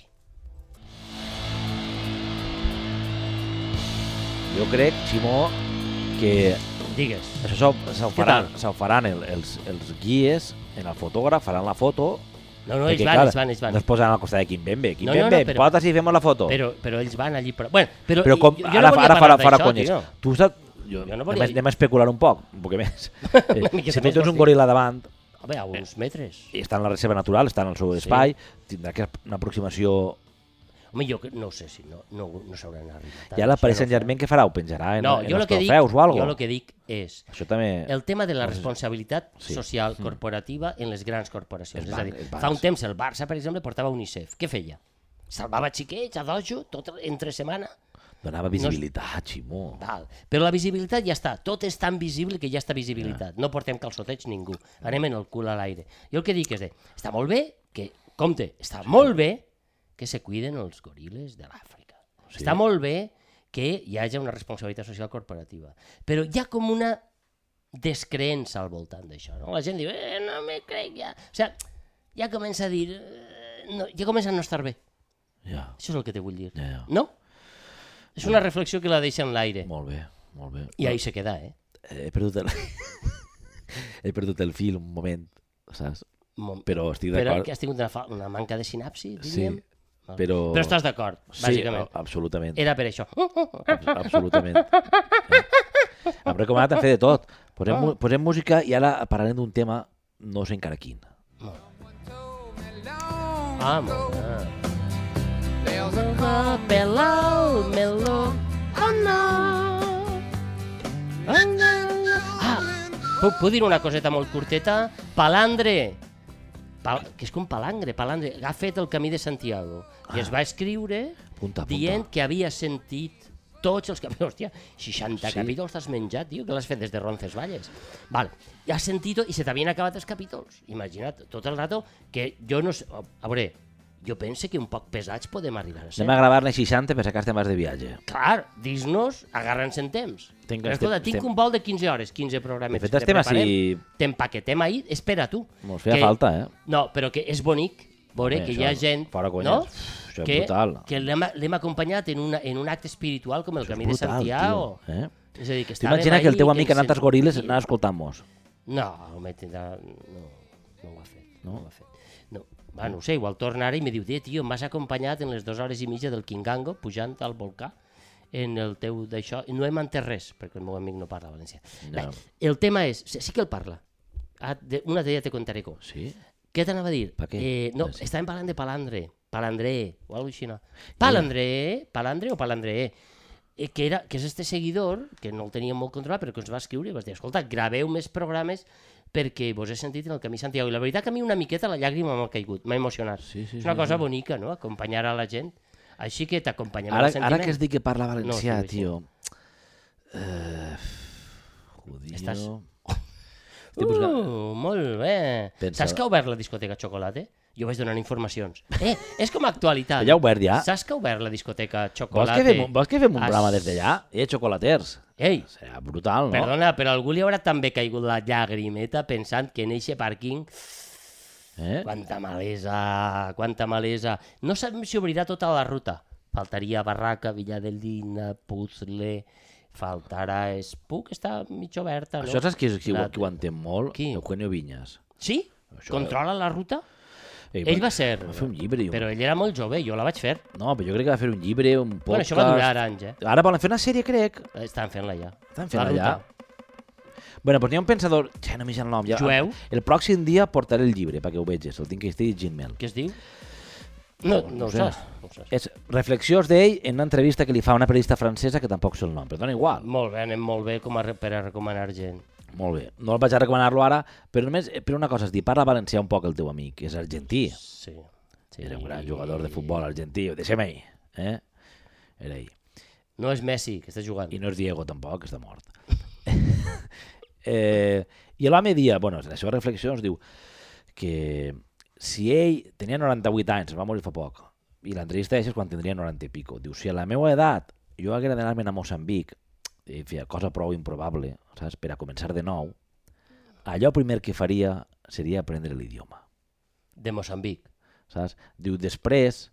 S1: Jo crec, Ximó, que
S2: Digues.
S1: això se- se ho faran,
S2: tal?
S1: se ho faran el, els, els guies, en el fotògraf, faran la foto...
S2: No, no, ells
S1: perquè,
S2: van,
S1: clar,
S2: ells van, ells van.
S1: No es posaran al costat de Quimbembe.
S2: No, no, no,
S1: Quimbembe, no,
S2: però-
S1: no, però... porta si fem la foto.
S2: Però, però ells van allí... Però, bueno, però,
S1: però
S2: i-
S1: com,
S2: jo, jo
S1: ara,
S2: no volia
S1: ara farà,
S2: parlar
S1: farà
S2: d'això,
S1: conyes.
S2: tio.
S1: Tu saps... Jo,
S2: Jo no
S1: anem,
S2: volia
S1: a,
S2: dir-
S1: anem a especular un poc, un poc més.
S2: miqueta
S1: Eh, si tu
S2: més
S1: tens
S2: fàcil.
S1: un goril·la davant,
S2: Home, a uns metres.
S1: i està en la reserva natural, està en el seu
S2: Sí.
S1: espai, tindrà que una aproximació...
S2: Home, jo que- no ho sé si no, no, no s'hauran arribat.
S1: Ja l'apareix en Germain, què farà? Ho penjarà en,
S2: No,
S1: en
S2: jo el
S1: els
S2: que dic,
S1: trofeus o
S2: jo
S1: alguna
S2: el que dic és
S1: Això també...
S2: el tema de la responsabilitat
S1: Sí. Mm.
S2: social corporativa en les grans corporacions.
S1: Els
S2: és a
S1: ban-
S2: dir,
S1: els
S2: fa
S1: bans.
S2: un temps el Barça, per exemple, portava UNICEF. Què feia? Salvava xiquets a dojo tot entre setmana?
S1: Donava visibilitat, Ximó.
S2: Val. Però la visibilitat ja està. Tot és tan visible que ja està visibilitat. No portem calçotets ningú. Anem en el cul a l'aire. Jo el que dic és de, està molt bé, que, compte, està molt bé que se cuiden els goril·les de l'Àfrica.
S1: Sí.
S2: Està molt bé que hi hagi una responsabilitat social corporativa. Però hi ha com una descreença al voltant d'això. No? La gent diu, eh, no me crec ja. O sigui, ja comença a dir... eh, No, ja comença a no estar bé.
S1: Ja,
S2: Això és el que te vull dir.
S1: ja, ja.
S2: No? És una reflexió que la deixa en l'aire.
S1: Molt bé, molt bé.
S2: I ahí se queda, eh?
S1: He perdut el... He perdut el fil un moment, saps?
S2: Mo-
S1: Però estic
S2: Però
S1: d'acord.
S2: que has tingut una, fa- una manca de sinapsi,
S1: Sí,
S2: diríem. Val.
S1: però...
S2: Però estàs d'acord,
S1: Sí, oh.
S2: bàsicament.
S1: a- absolutament.
S2: Era per això.
S1: Abs- absolutament. Eh? Hem recomanat a fer de tot. Posem, mu posem música i ara parlarem d'un tema, no sé encara quin.
S2: Ah, molt bé. Below, below, oh no. Oh, no. Ah, puc, puc dir una coseta molt curteta? Palandre, Pal que és com palangre, palangre, ha fet el camí de Santiago
S1: Ah.
S2: i es va escriure
S1: Apunta, apunta.
S2: dient que havia sentit tots els capítols, hòstia, 60
S1: Sí.
S2: capítols t'has menjat, tio, que l'has fet des de Roncesvalles. Val, i has sentit i se t'havien acabat els capítols. Imagina't, tot el rato que jo no sé... A veure, jo pense que un poc pesats podem arribar a ser.
S1: Anem a gravar-ne 60 per sacar-te més de viatge.
S2: Clar, dis-nos, agarra'ns en temps.
S1: Tinc-
S2: Però, escolta,
S1: estem-
S2: tinc
S1: estem-
S2: un vol de 15 hores, 15 programes.
S1: De fet, estem així-
S2: T'empaquetem ahir, espera tu.
S1: Mos feia falta, eh?
S2: No, però que és bonic veure
S1: Home,
S2: que
S1: això-
S2: hi ha gent
S1: fora conyes.
S2: no?
S1: Uf, això és
S2: que,
S1: brutal.
S2: que l'hem l'hem acompanyat en, una, en un acte espiritual com el
S1: Això és
S2: Camí de
S1: brutal,
S2: Santiago.
S1: tio, eh?
S2: És a dir, que
S1: Tu
S2: estàvem
S1: imagina que el
S2: ahí,
S1: teu amic en
S2: ens
S1: altres goril·les
S2: sentíem.
S1: anava escoltant-nos.
S2: No, home, tindrà... No, no ho ha fet. No, ho ha fet. No. Va, no ho sé, igual torna ara i em diu, eh, tio, m'has acompanyat en les dues hores i mitja del Kingango pujant al volcà en el teu d'això, i no hem entès res, perquè el meu amic no parla valencià.
S1: No.
S2: Bé, el tema és, sí, sí que el parla, ah, de, una de te contaré com.
S1: Sí?
S2: Què t'anava a dir?
S1: Per què?
S2: Eh, no,
S1: Ah, sí.
S2: estàvem parlant de Palandre, Palandré, o alguna cosa així. Palandré, Palandre o Palandré, eh, que, era, que és este seguidor, que no el teníem molt controlat, però que ens va escriure i vas dir, escolta, graveu més programes perquè vos he sentit en el camí Santiago. I la veritat que a mi una miqueta la llàgrima m'ha caigut, m'ha emocionat.
S1: Sí, sí,
S2: és una
S1: sí,
S2: cosa bonica, no?, acompanyar a la gent. Així que t'acompanyem
S1: Ara,
S2: al sentiment.
S1: ara que es diu que parla valencià,
S2: No, sí, sí.
S1: tio... Eh, judío...
S2: Estàs-
S1: Estic buscant...
S2: Uh, molt bé.
S1: Pensa-
S2: Saps que ha obert la discoteca Xocolate? Jo vaig donant informacions. Eh, és com a actualitat.
S1: Ja ha obert, ja.
S2: Saps que ha obert la discoteca
S1: Vols
S2: Xocolate?
S1: que, fem, un- vols que fem un
S2: As-
S1: programa des d'allà? Eh, xocolaters.
S2: Ei,
S1: Serà brutal, no?
S2: perdona, però algú li haurà també caigut la llagrimeta pensant que en eixe pàrquing...
S1: Eh?
S2: Quanta malesa, quanta malesa. No sabem si obrirà tota la ruta. Faltaria Barraca, Villadelina, Puzle... Faltarà Espuc, està mig oberta, no?
S1: Això saps qui, qui,
S2: La-
S1: ho- qui ho entén molt?
S2: Qui?
S1: Eugenio Vinyas.
S2: Sí?
S1: Això-
S2: Controla la ruta?
S1: Ell,
S2: Ell va ser...
S1: Va fer un llibre. i un-
S2: Però ell era molt jove, jo la vaig fer.
S1: No, però jo crec que va fer un llibre, un podcast...
S2: Bueno, això va durar anys, eh?
S1: Ara volen fer una sèrie, crec.
S2: Estan fent-la ja.
S1: Estan fent
S2: La
S1: allà.
S2: ruta.
S1: Bueno, però n'hi ha un pensador... Ja, no m'he el nom. Ja,
S2: Jueu?
S1: El pròxim dia portaré el llibre perquè ho veges. El tinc que estigui Gmail.
S2: Què es diu? No,
S1: No
S2: no ho
S1: sé.
S2: saps. No ho saps.
S1: És reflexions d'ell en una entrevista que li fa una periodista francesa que tampoc sé el nom, però dona igual.
S2: Molt bé, anem molt bé com a, re- per a recomanar gent.
S1: Molt bé. No el vaig a recomanar-lo ara, però només per una cosa, és dir, parla valencià un poc el teu amic, és argentí.
S2: Sí. sí. Sí.
S1: Era un gran jugador de futbol argentí. Ho deixem ahir. Eh? Era ahir.
S2: No és Messi, que està jugant.
S1: I no és Diego, tampoc, que està mort. eh, I l'home dia, bueno, en la seva reflexió ens diu que si ell tenia 98 anys, va morir fa poc, i l'entrevista és quan tindria 90 i pico, diu, si a la meva edat jo haguera d'anar-me'n a Moçambic, i feia cosa prou improbable, saps, per a començar de nou, allò primer que faria seria aprendre l'idioma
S2: De Moçambic.
S1: saps? Diu, després,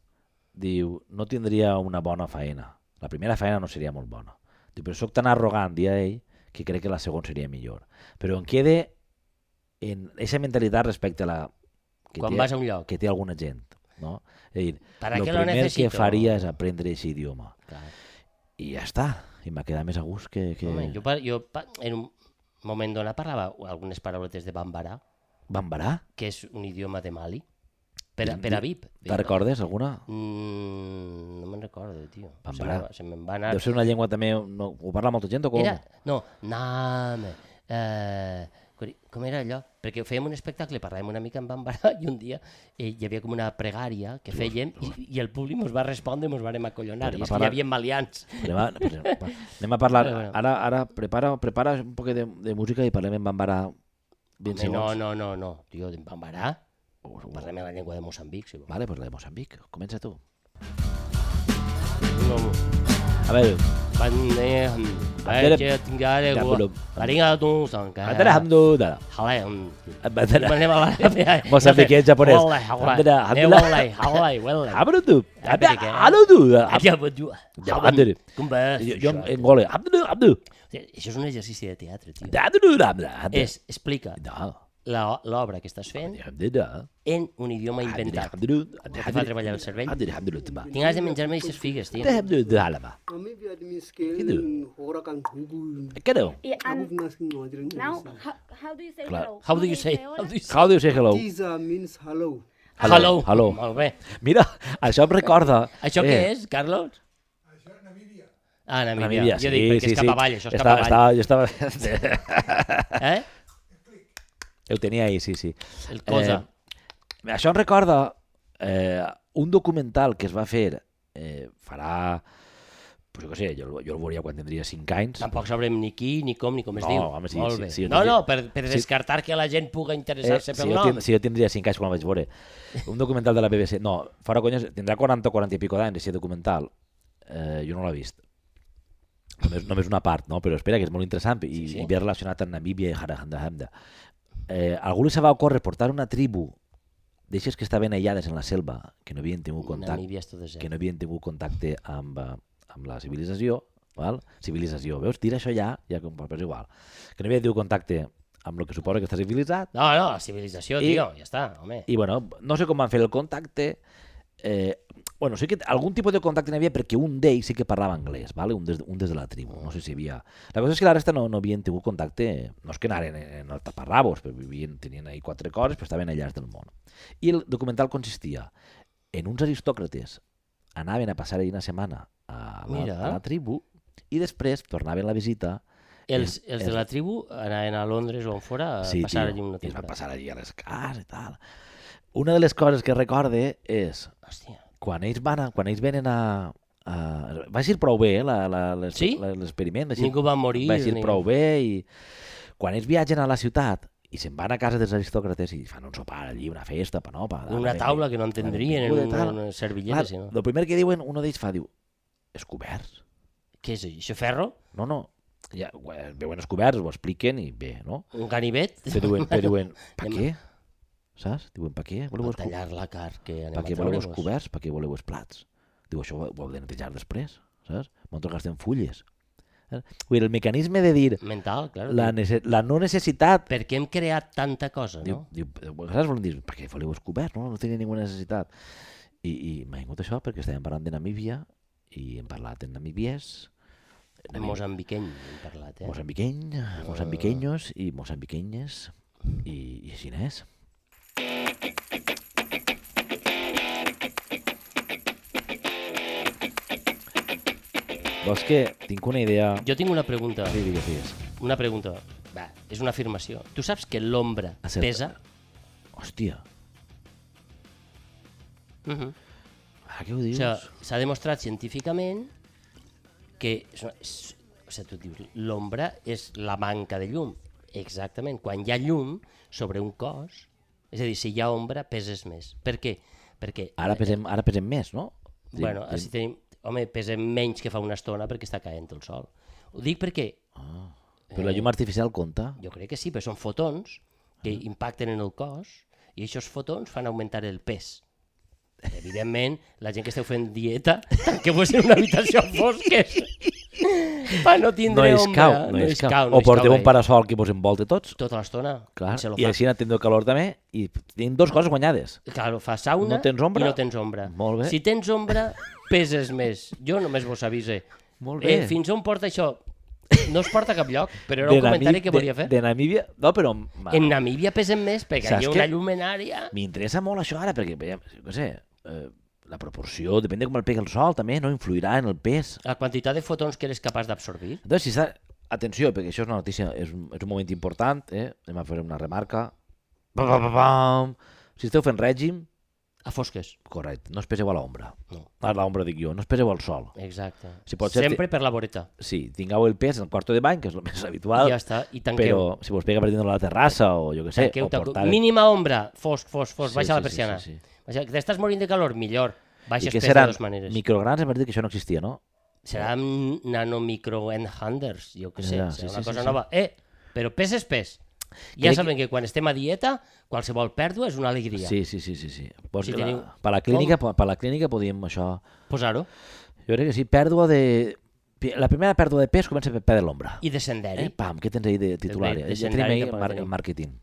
S1: diu, no tindria una bona faena. La primera faena no seria molt bona. Diu, però sóc tan arrogant, dia ell, que crec que la segona seria millor. Però em quede en aquesta mentalitat respecte a la... Que
S2: Quan
S1: té,
S2: vas a un lloc.
S1: Que té alguna gent, no? És a dir,
S2: ¿Para
S1: lo
S2: qué lo
S1: primer que
S2: necesito?
S1: faria és aprendre aquest idioma.
S2: Clar.
S1: I ja està. I m'ha quedat més a gust que... que...
S2: Home, jo, pa- jo pa- en un moment donat parlava algunes parauletes de Bambara,
S1: Bambarà?
S2: que és un idioma de Mali, per, a-
S1: Di-
S2: per a
S1: di-
S2: VIP.
S1: Te'n recordes alguna?
S2: Mm, no me'n recordo, tio.
S1: Bambara.
S2: Se me- Se me'n va anar...
S1: Deu ser una llengua també... No, ho parla molta gent o com?
S2: Era, no, Name. Eh, cori- com era allò? Perquè fèiem un espectacle, parlàvem una mica en Bambarà i un dia eh, hi havia com una pregària que fèiem i, i el públic ens va respondre i ens vàrem acollonar. I
S1: Podem
S2: és que
S1: parlar-
S2: hi havia malians.
S1: Anem a, per- per- anem a parlar.
S2: Bueno, bueno.
S1: Ara, ara prepara, prepara un poquet de, de música i parlem en Bambara 20
S2: Home, no,
S1: segons.
S2: no, no, no. Tio, en Bambarà
S1: No,
S2: parlem en la llengua de Moçambic, si vols.
S1: Vale, pues la de Moçambic. Comença tu.
S2: Un home.
S1: A veure,
S2: Bandem,
S1: Bandera-
S2: vaig a tingar de
S1: Ja,
S2: gua.
S1: volum.
S2: La ringa d'un sang.
S1: Bandera Hamdu Dada.
S2: Jalè, un-
S1: Bandera
S2: Anem a la-
S1: Moçambiquet japonès.
S2: Olai, olai.
S1: Bandera-
S2: Eh, olai, olai, olai.
S1: Hamdu.
S2: Bandera que-
S1: Hamdu.
S2: Ja, bon dia.
S1: Ja, bon dia.
S2: Com vas?
S1: Jo, jo
S2: Això?
S1: en gole. Hamdu. Hamdu.
S2: Això és un exercici de teatre, tio.
S1: Hamdu. Hamdu.
S2: És, explica
S1: No.
S2: la- l'obra que estàs fent en un idioma
S1: Ah,
S2: inventat. fa treballar el cervell. Tinc ganes de menjar-me aquestes figues, tio.
S5: Now,
S1: Hello. Què no?
S6: Yeah, and now, how, how do you say
S1: Clar.
S6: hello?
S2: How do you say?
S6: hola?
S2: How do you say?
S1: How do you say hello?
S5: Giza means hello.
S1: Hello. Hello.
S2: Molt bé.
S1: Mira, això em recorda...
S2: Això
S1: eh,
S2: què és, Carlos? Això és Namíbia. Ah, Namíbia.
S1: Namíbia, sí,
S2: jo dic, perquè
S1: sí,
S2: és
S1: sí.
S2: cap avall, això és
S1: Estava-
S2: cap avall.
S1: estava- jo estava-
S2: Eh?
S1: Ho tenia ahí, sí, sí.
S2: El cosa.
S1: Eh, això em recorda eh, un documental que es va fer eh, farà... Pues jo què sé, jo, el- jo el veuria quan tindria 5 anys.
S2: Tampoc sabrem ni qui, ni com, ni com es
S1: No,
S2: diu.
S1: home, sí,
S2: Molt
S1: sí,
S2: bé.
S1: sí,
S2: no,
S1: sí.
S2: no, per, per
S1: Sí.
S2: descartar que la gent puga interessar-se
S1: Eh, si,
S2: pel
S1: jo
S2: nom.
S1: tin- si jo tindria 5 anys quan el vaig veure. Un documental de la BBC. No, fora conyes, tindrà 40 o 40 i pico d'anys, aquest documental. Eh, jo no l'he vist. Només, només una part, no? Però espera, que és molt interessant i, sí,
S2: Sí, sí.
S1: sí. i ve relacionat amb Namíbia i Harahanda Eh, algú li se va ocórrer portar una tribu d'eixes que estaven aïllades en la selva, que no havien tingut contacte
S2: Namíbia és tot desert.
S1: que no havien tingut contacte amb, eh, amb la civilització, val? civilització, veus? Tira això ja, ja com però és igual. Que no havien tingut contacte amb el que suposa que està civilitzat,
S2: No, no, la civilització,
S1: I-
S2: tio, ja està, home.
S1: i bueno, no sé com van fer el contacte. Eh, bueno, sí que algun tipus de contacte n'hi havia perquè un d'ells sí que parlava anglès, vale? un, des, un des de la tribu. No sé si hi havia... La cosa és que la resta no, no havien tingut contacte, no és que anaren en, en el taparrabos, però vivien, tenien ahí quatre coses, però estaven allà del món. I el documental consistia en uns aristòcrates anaven a passar-hi una setmana a la,
S2: Mira.
S1: a la tribu i després tornaven la visita
S2: Els, els de
S1: és-
S2: la tribu anaven a Londres o on fora a
S1: sí,
S2: passar
S1: tio,
S2: allí una
S1: i es va
S2: temporada.
S1: passar allí a les cases i tal. Una de les coses que recorde és
S2: Hòstia.
S1: quan ells van a, quan ells venen a, a va ser prou bé eh, la- la- l'ex-
S2: Sí?
S1: la- l'experiment va ser-
S2: Ningú va morir.
S1: va ser
S2: ni-
S1: prou bé i quan ells viatgen a la ciutat i se'n van a casa dels aristòcrates i fan un sopar allí, una festa, pa, no, pa,
S2: Una taula que no entendrien, en
S1: benvinguda i
S2: una,
S1: tal.
S2: una servilleta,
S1: Clar,
S2: si no.
S1: el primer que diuen, un d'ells fa, diu, és coberts.
S2: Què és això, ferro?
S1: No, no, ja, eh, veuen els coberts, ho expliquen i bé, no?
S2: Un ganivet?
S1: Però diuen, però diuen pa
S2: Anem a-
S1: què? Saps? Diuen, pa què? Voleu
S2: Per
S1: els co-
S2: tallar la car que anem
S1: per què
S2: a
S1: voleu els
S2: treure-vos.
S1: coberts, per què voleu els plats. Diu, això ho, ho heu de netejar després, saps? Nosaltres gastem fulles. Eh? Vull dir, el mecanisme de dir
S2: Mental, clar.
S1: la, nece la no necessitat...
S2: Per què hem creat tanta cosa,
S1: Diu,
S2: no?
S1: diu, saps? Volen dir, per què voleu els coberts? No, no tenia ninguna necessitat. I, i m'ha vingut això perquè estàvem parlant de Namíbia i hem parlat en namibiès, Anem-
S2: Mosambiqueny, hem parlat, eh?
S1: mosambiqueny, mosambiquenyos i mosambiquenyes i, i així n'és. Vols que tinc una idea...
S2: Jo tinc una pregunta.
S1: Sí, digues, digues.
S2: Una pregunta. Va, és una afirmació. Tu saps que l'ombra
S1: Acerta.
S2: pesa?
S1: Hòstia.
S2: Mhm.
S1: Ah, què ho dius?
S2: O sigui, s'ha demostrat científicament que és una- és- o sigui, tu dius, l'ombra és la manca de llum. Exactament. Quan hi ha llum sobre un cos, és a dir, si hi ha ombra, peses més. Per què? Perquè,
S1: Ara, pesem, ara pesem més, no?
S2: sí, bueno, Ah, sí. tenim, home, pesem menys que fa una estona perquè està caent el sol. Ho dic perquè
S1: Però la llum artificial compta.
S2: jo crec que sí, però són fotons que
S1: Ah.
S2: impacten en el cos i aquests fotons fan augmentar el pes. Evidentment, la gent que esteu fent dieta, que vos en una habitació amb fosques, per no
S1: No
S2: tindre
S1: és
S2: ombra.
S1: cau, no és cau. O
S2: es
S1: porteu un
S2: ahí.
S1: parasol que vos envolta tots.
S2: Tota l'estona.
S1: Clar,
S2: Se lo
S1: i
S2: fa.
S1: així tindreu calor també i tenim dues coses guanyades.
S2: Claro, fa sauna
S1: No tens ombra?
S2: i no tens ombra.
S1: Molt bé.
S2: Si tens ombra, peses més. Jo només vos avise.
S1: Molt bé.
S2: Eh, fins on porta això? No es porta a cap lloc, però era
S1: De
S2: un comentari
S1: Namí-
S2: que volia
S1: de-
S2: fer.
S1: De Namíbia... No, però... ma-
S2: En Namíbia pesen més perquè
S1: Saps
S2: hi ha
S1: què?
S2: una llumenària...
S1: M'interessa molt això ara, perquè, veiem, no sé, eh, la proporció, depèn de com el pega el sol, també, no? Influirà en el pes.
S2: La quantitat de fotons que eres capaç d'absorbir?
S1: Entonces, si està... Atenció, perquè això és una notícia, és un, és un moment important, eh? Anem a fer una remarca. Pam, pam, pam, pam. Si esteu fent règim,
S2: A fosques.
S1: correcte, no es peseu a l'ombra.
S2: No.
S1: A l'ombra dic jo, no es peseu al sol.
S2: Exacte.
S1: Si pot ser-
S2: Sempre per la voreta.
S1: Sí, tingueu el pes en el quarto de bany, que és el més habitual,
S2: I ja està. I tanqueu.
S1: però si vos pega per dintre la terrassa o jo què sé,
S2: tanqueu,
S1: o portar...
S2: Mínima ombra. Fosc, fosc, fosc.
S1: Sí,
S2: Baixa
S1: sí,
S2: la
S1: sí,
S2: persiana.
S1: sí, sí.
S2: Baixa... T'estàs morint de calor? Millor.
S1: I
S2: Baixes
S1: què
S2: pes de
S1: seran?
S2: dues maneres.
S1: Micrograns, em va dir que això no existia, no?
S2: Serà amb nanomicro-enhanders, jo què sé.
S1: Ja,
S2: serà
S1: sí,
S2: una
S1: sí,
S2: cosa
S1: sí, sí.
S2: nova. Eh, però pes és pes. Ja
S1: Crec
S2: sabem que... quan estem a dieta, qualsevol pèrdua és una alegria.
S1: Sí, sí, sí, sí. sí. Pues
S2: Si
S1: la,
S2: teniu-
S1: per, la clínica, per, per la clínica podíem això...
S2: Posar-ho.
S1: Jo crec que sí, pèrdua de... pi- La primera pèrdua de pes comença per perdre l'ombra.
S2: I de senderi.
S1: Eh, pam, què tens ahir de titular?
S2: de
S1: Ja
S2: gent
S1: tenim
S2: gran
S1: ahir
S2: que
S1: mar
S2: tenim.
S1: marketing.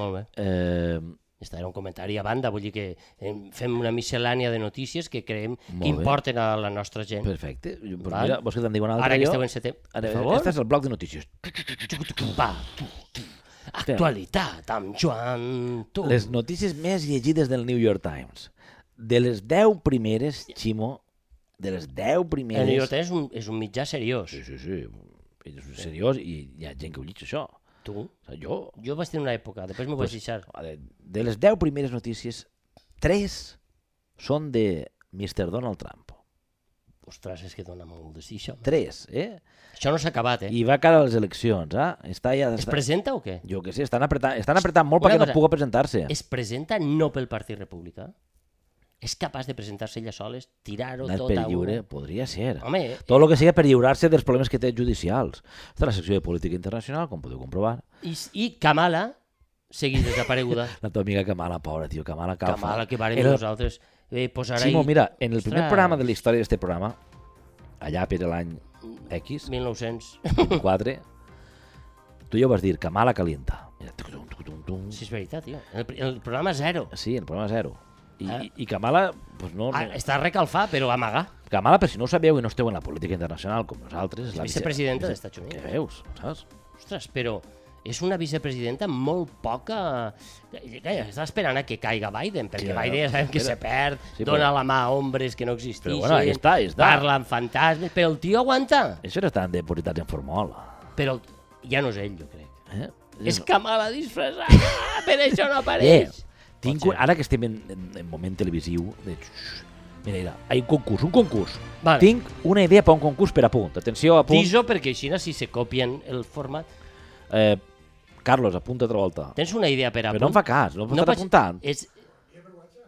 S2: Molt bé.
S1: Eh,
S2: Ja Està, era un comentari a banda, vull dir que eh, fem una miscel·lània de notícies que creiem
S1: Molt
S2: que
S1: bé.
S2: importen a la nostra gent.
S1: perfecte. Jo- Pues
S2: Val.
S1: mira, vols que te'n digui una altra?
S2: Ara que
S1: jo?
S2: esteu en setembre,
S1: Ara,
S2: per favor.
S1: Este és el bloc de notícies.
S2: Va, tu, tu. Actualitat amb Joan, tu.
S1: Les notícies més llegides del New York Times. De les 10 primeres, Ximo, de les 10 primeres...
S2: El New York Times és un, és un mitjà seriós.
S1: Sí, sí, sí. És seriós i hi ha gent que ho llig, això.
S2: Tu?
S1: O sigui, jo
S2: Jo vaig tenir una època, després m'ho vaig deixar.
S1: A veure, De les 10 primeres notícies, 3 són de Mr. Donald Trump.
S2: Ostres, és que dona molt de sí, això.
S1: 3, eh?
S2: Això no s'ha acabat, eh?
S1: I va cara a les eleccions, eh? Està ja...
S2: Es
S1: Està,
S2: presenta o què?
S1: jo que sé, estan apretant, estan apretant molt
S2: Una
S1: perquè
S2: cosa,
S1: no puga presentar-se.
S2: Es presenta no pel Partit Republicà. És capaç de presentar-se ella soles, tirar-ho
S1: Anar
S2: tot
S1: per
S2: a
S1: lliure,
S2: una.
S1: podria ser.
S2: Home, eh,
S1: Tot el que siga per lliurar-se dels problemes que té judicials. Està la secció de política internacional, com podeu comprovar.
S2: I, i Kamala seguir desapareguda.
S1: La teva amiga Kamala, pobra, tio, Kamala Kafa.
S2: Kamala, que vàrem
S1: Era-
S2: nosaltres eh, posar
S1: Ximo,
S2: ahí...
S1: mira, en el primer
S2: Ostres.
S1: programa de la història d'aquest programa, allà per l'any X,
S2: 1900.
S1: 24, tu ja ho vas dir, Kamala calienta. Mira, tuc, tuc, tuc, tuc, tuc.
S2: Sí, és veritat, tio. El, pri- el programa zero.
S1: Sí, el programa zero. I,
S2: Ah.
S1: i, i Kamala, pues no,
S2: Ah,
S1: no.
S2: està recalfar, però amagar.
S1: Kamala, per si no ho sabeu i no esteu en la política internacional com nosaltres...
S2: És vicepresidenta dels Estats Units.
S1: Què veus, saps?
S2: Ostres, però és una vicepresidenta molt poca... Calla, està esperant a que caiga Biden, perquè
S1: Sí,
S2: Biden ja sabem que se
S1: espera.
S2: perd,
S1: Sí, però-
S2: dona la mà a hombres que no existeixen,
S1: Però bueno, ahí està, ahí està.
S2: parla amb fantasmes, però el tio aguanta.
S1: Això no estan depositats en formol.
S2: Però el- ja no és ell, jo crec.
S1: Eh?
S2: És Kamala disfressada, per això no apareix.
S1: Eh, tinc un, ara que estem en, en, en moment televisiu, de... xxxt, Mira, mira, hi ha un concurs, un concurs.
S2: Vale.
S1: Tinc una idea per un concurs per a punt. Atenció, a punt.
S2: Tiso, perquè així si se copien el format...
S1: Eh, Carlos, apunta altra volta.
S2: Tens una idea per Eh, a
S1: Però no em fa cas, no, no estàs
S2: pots-
S1: apuntant.
S2: És,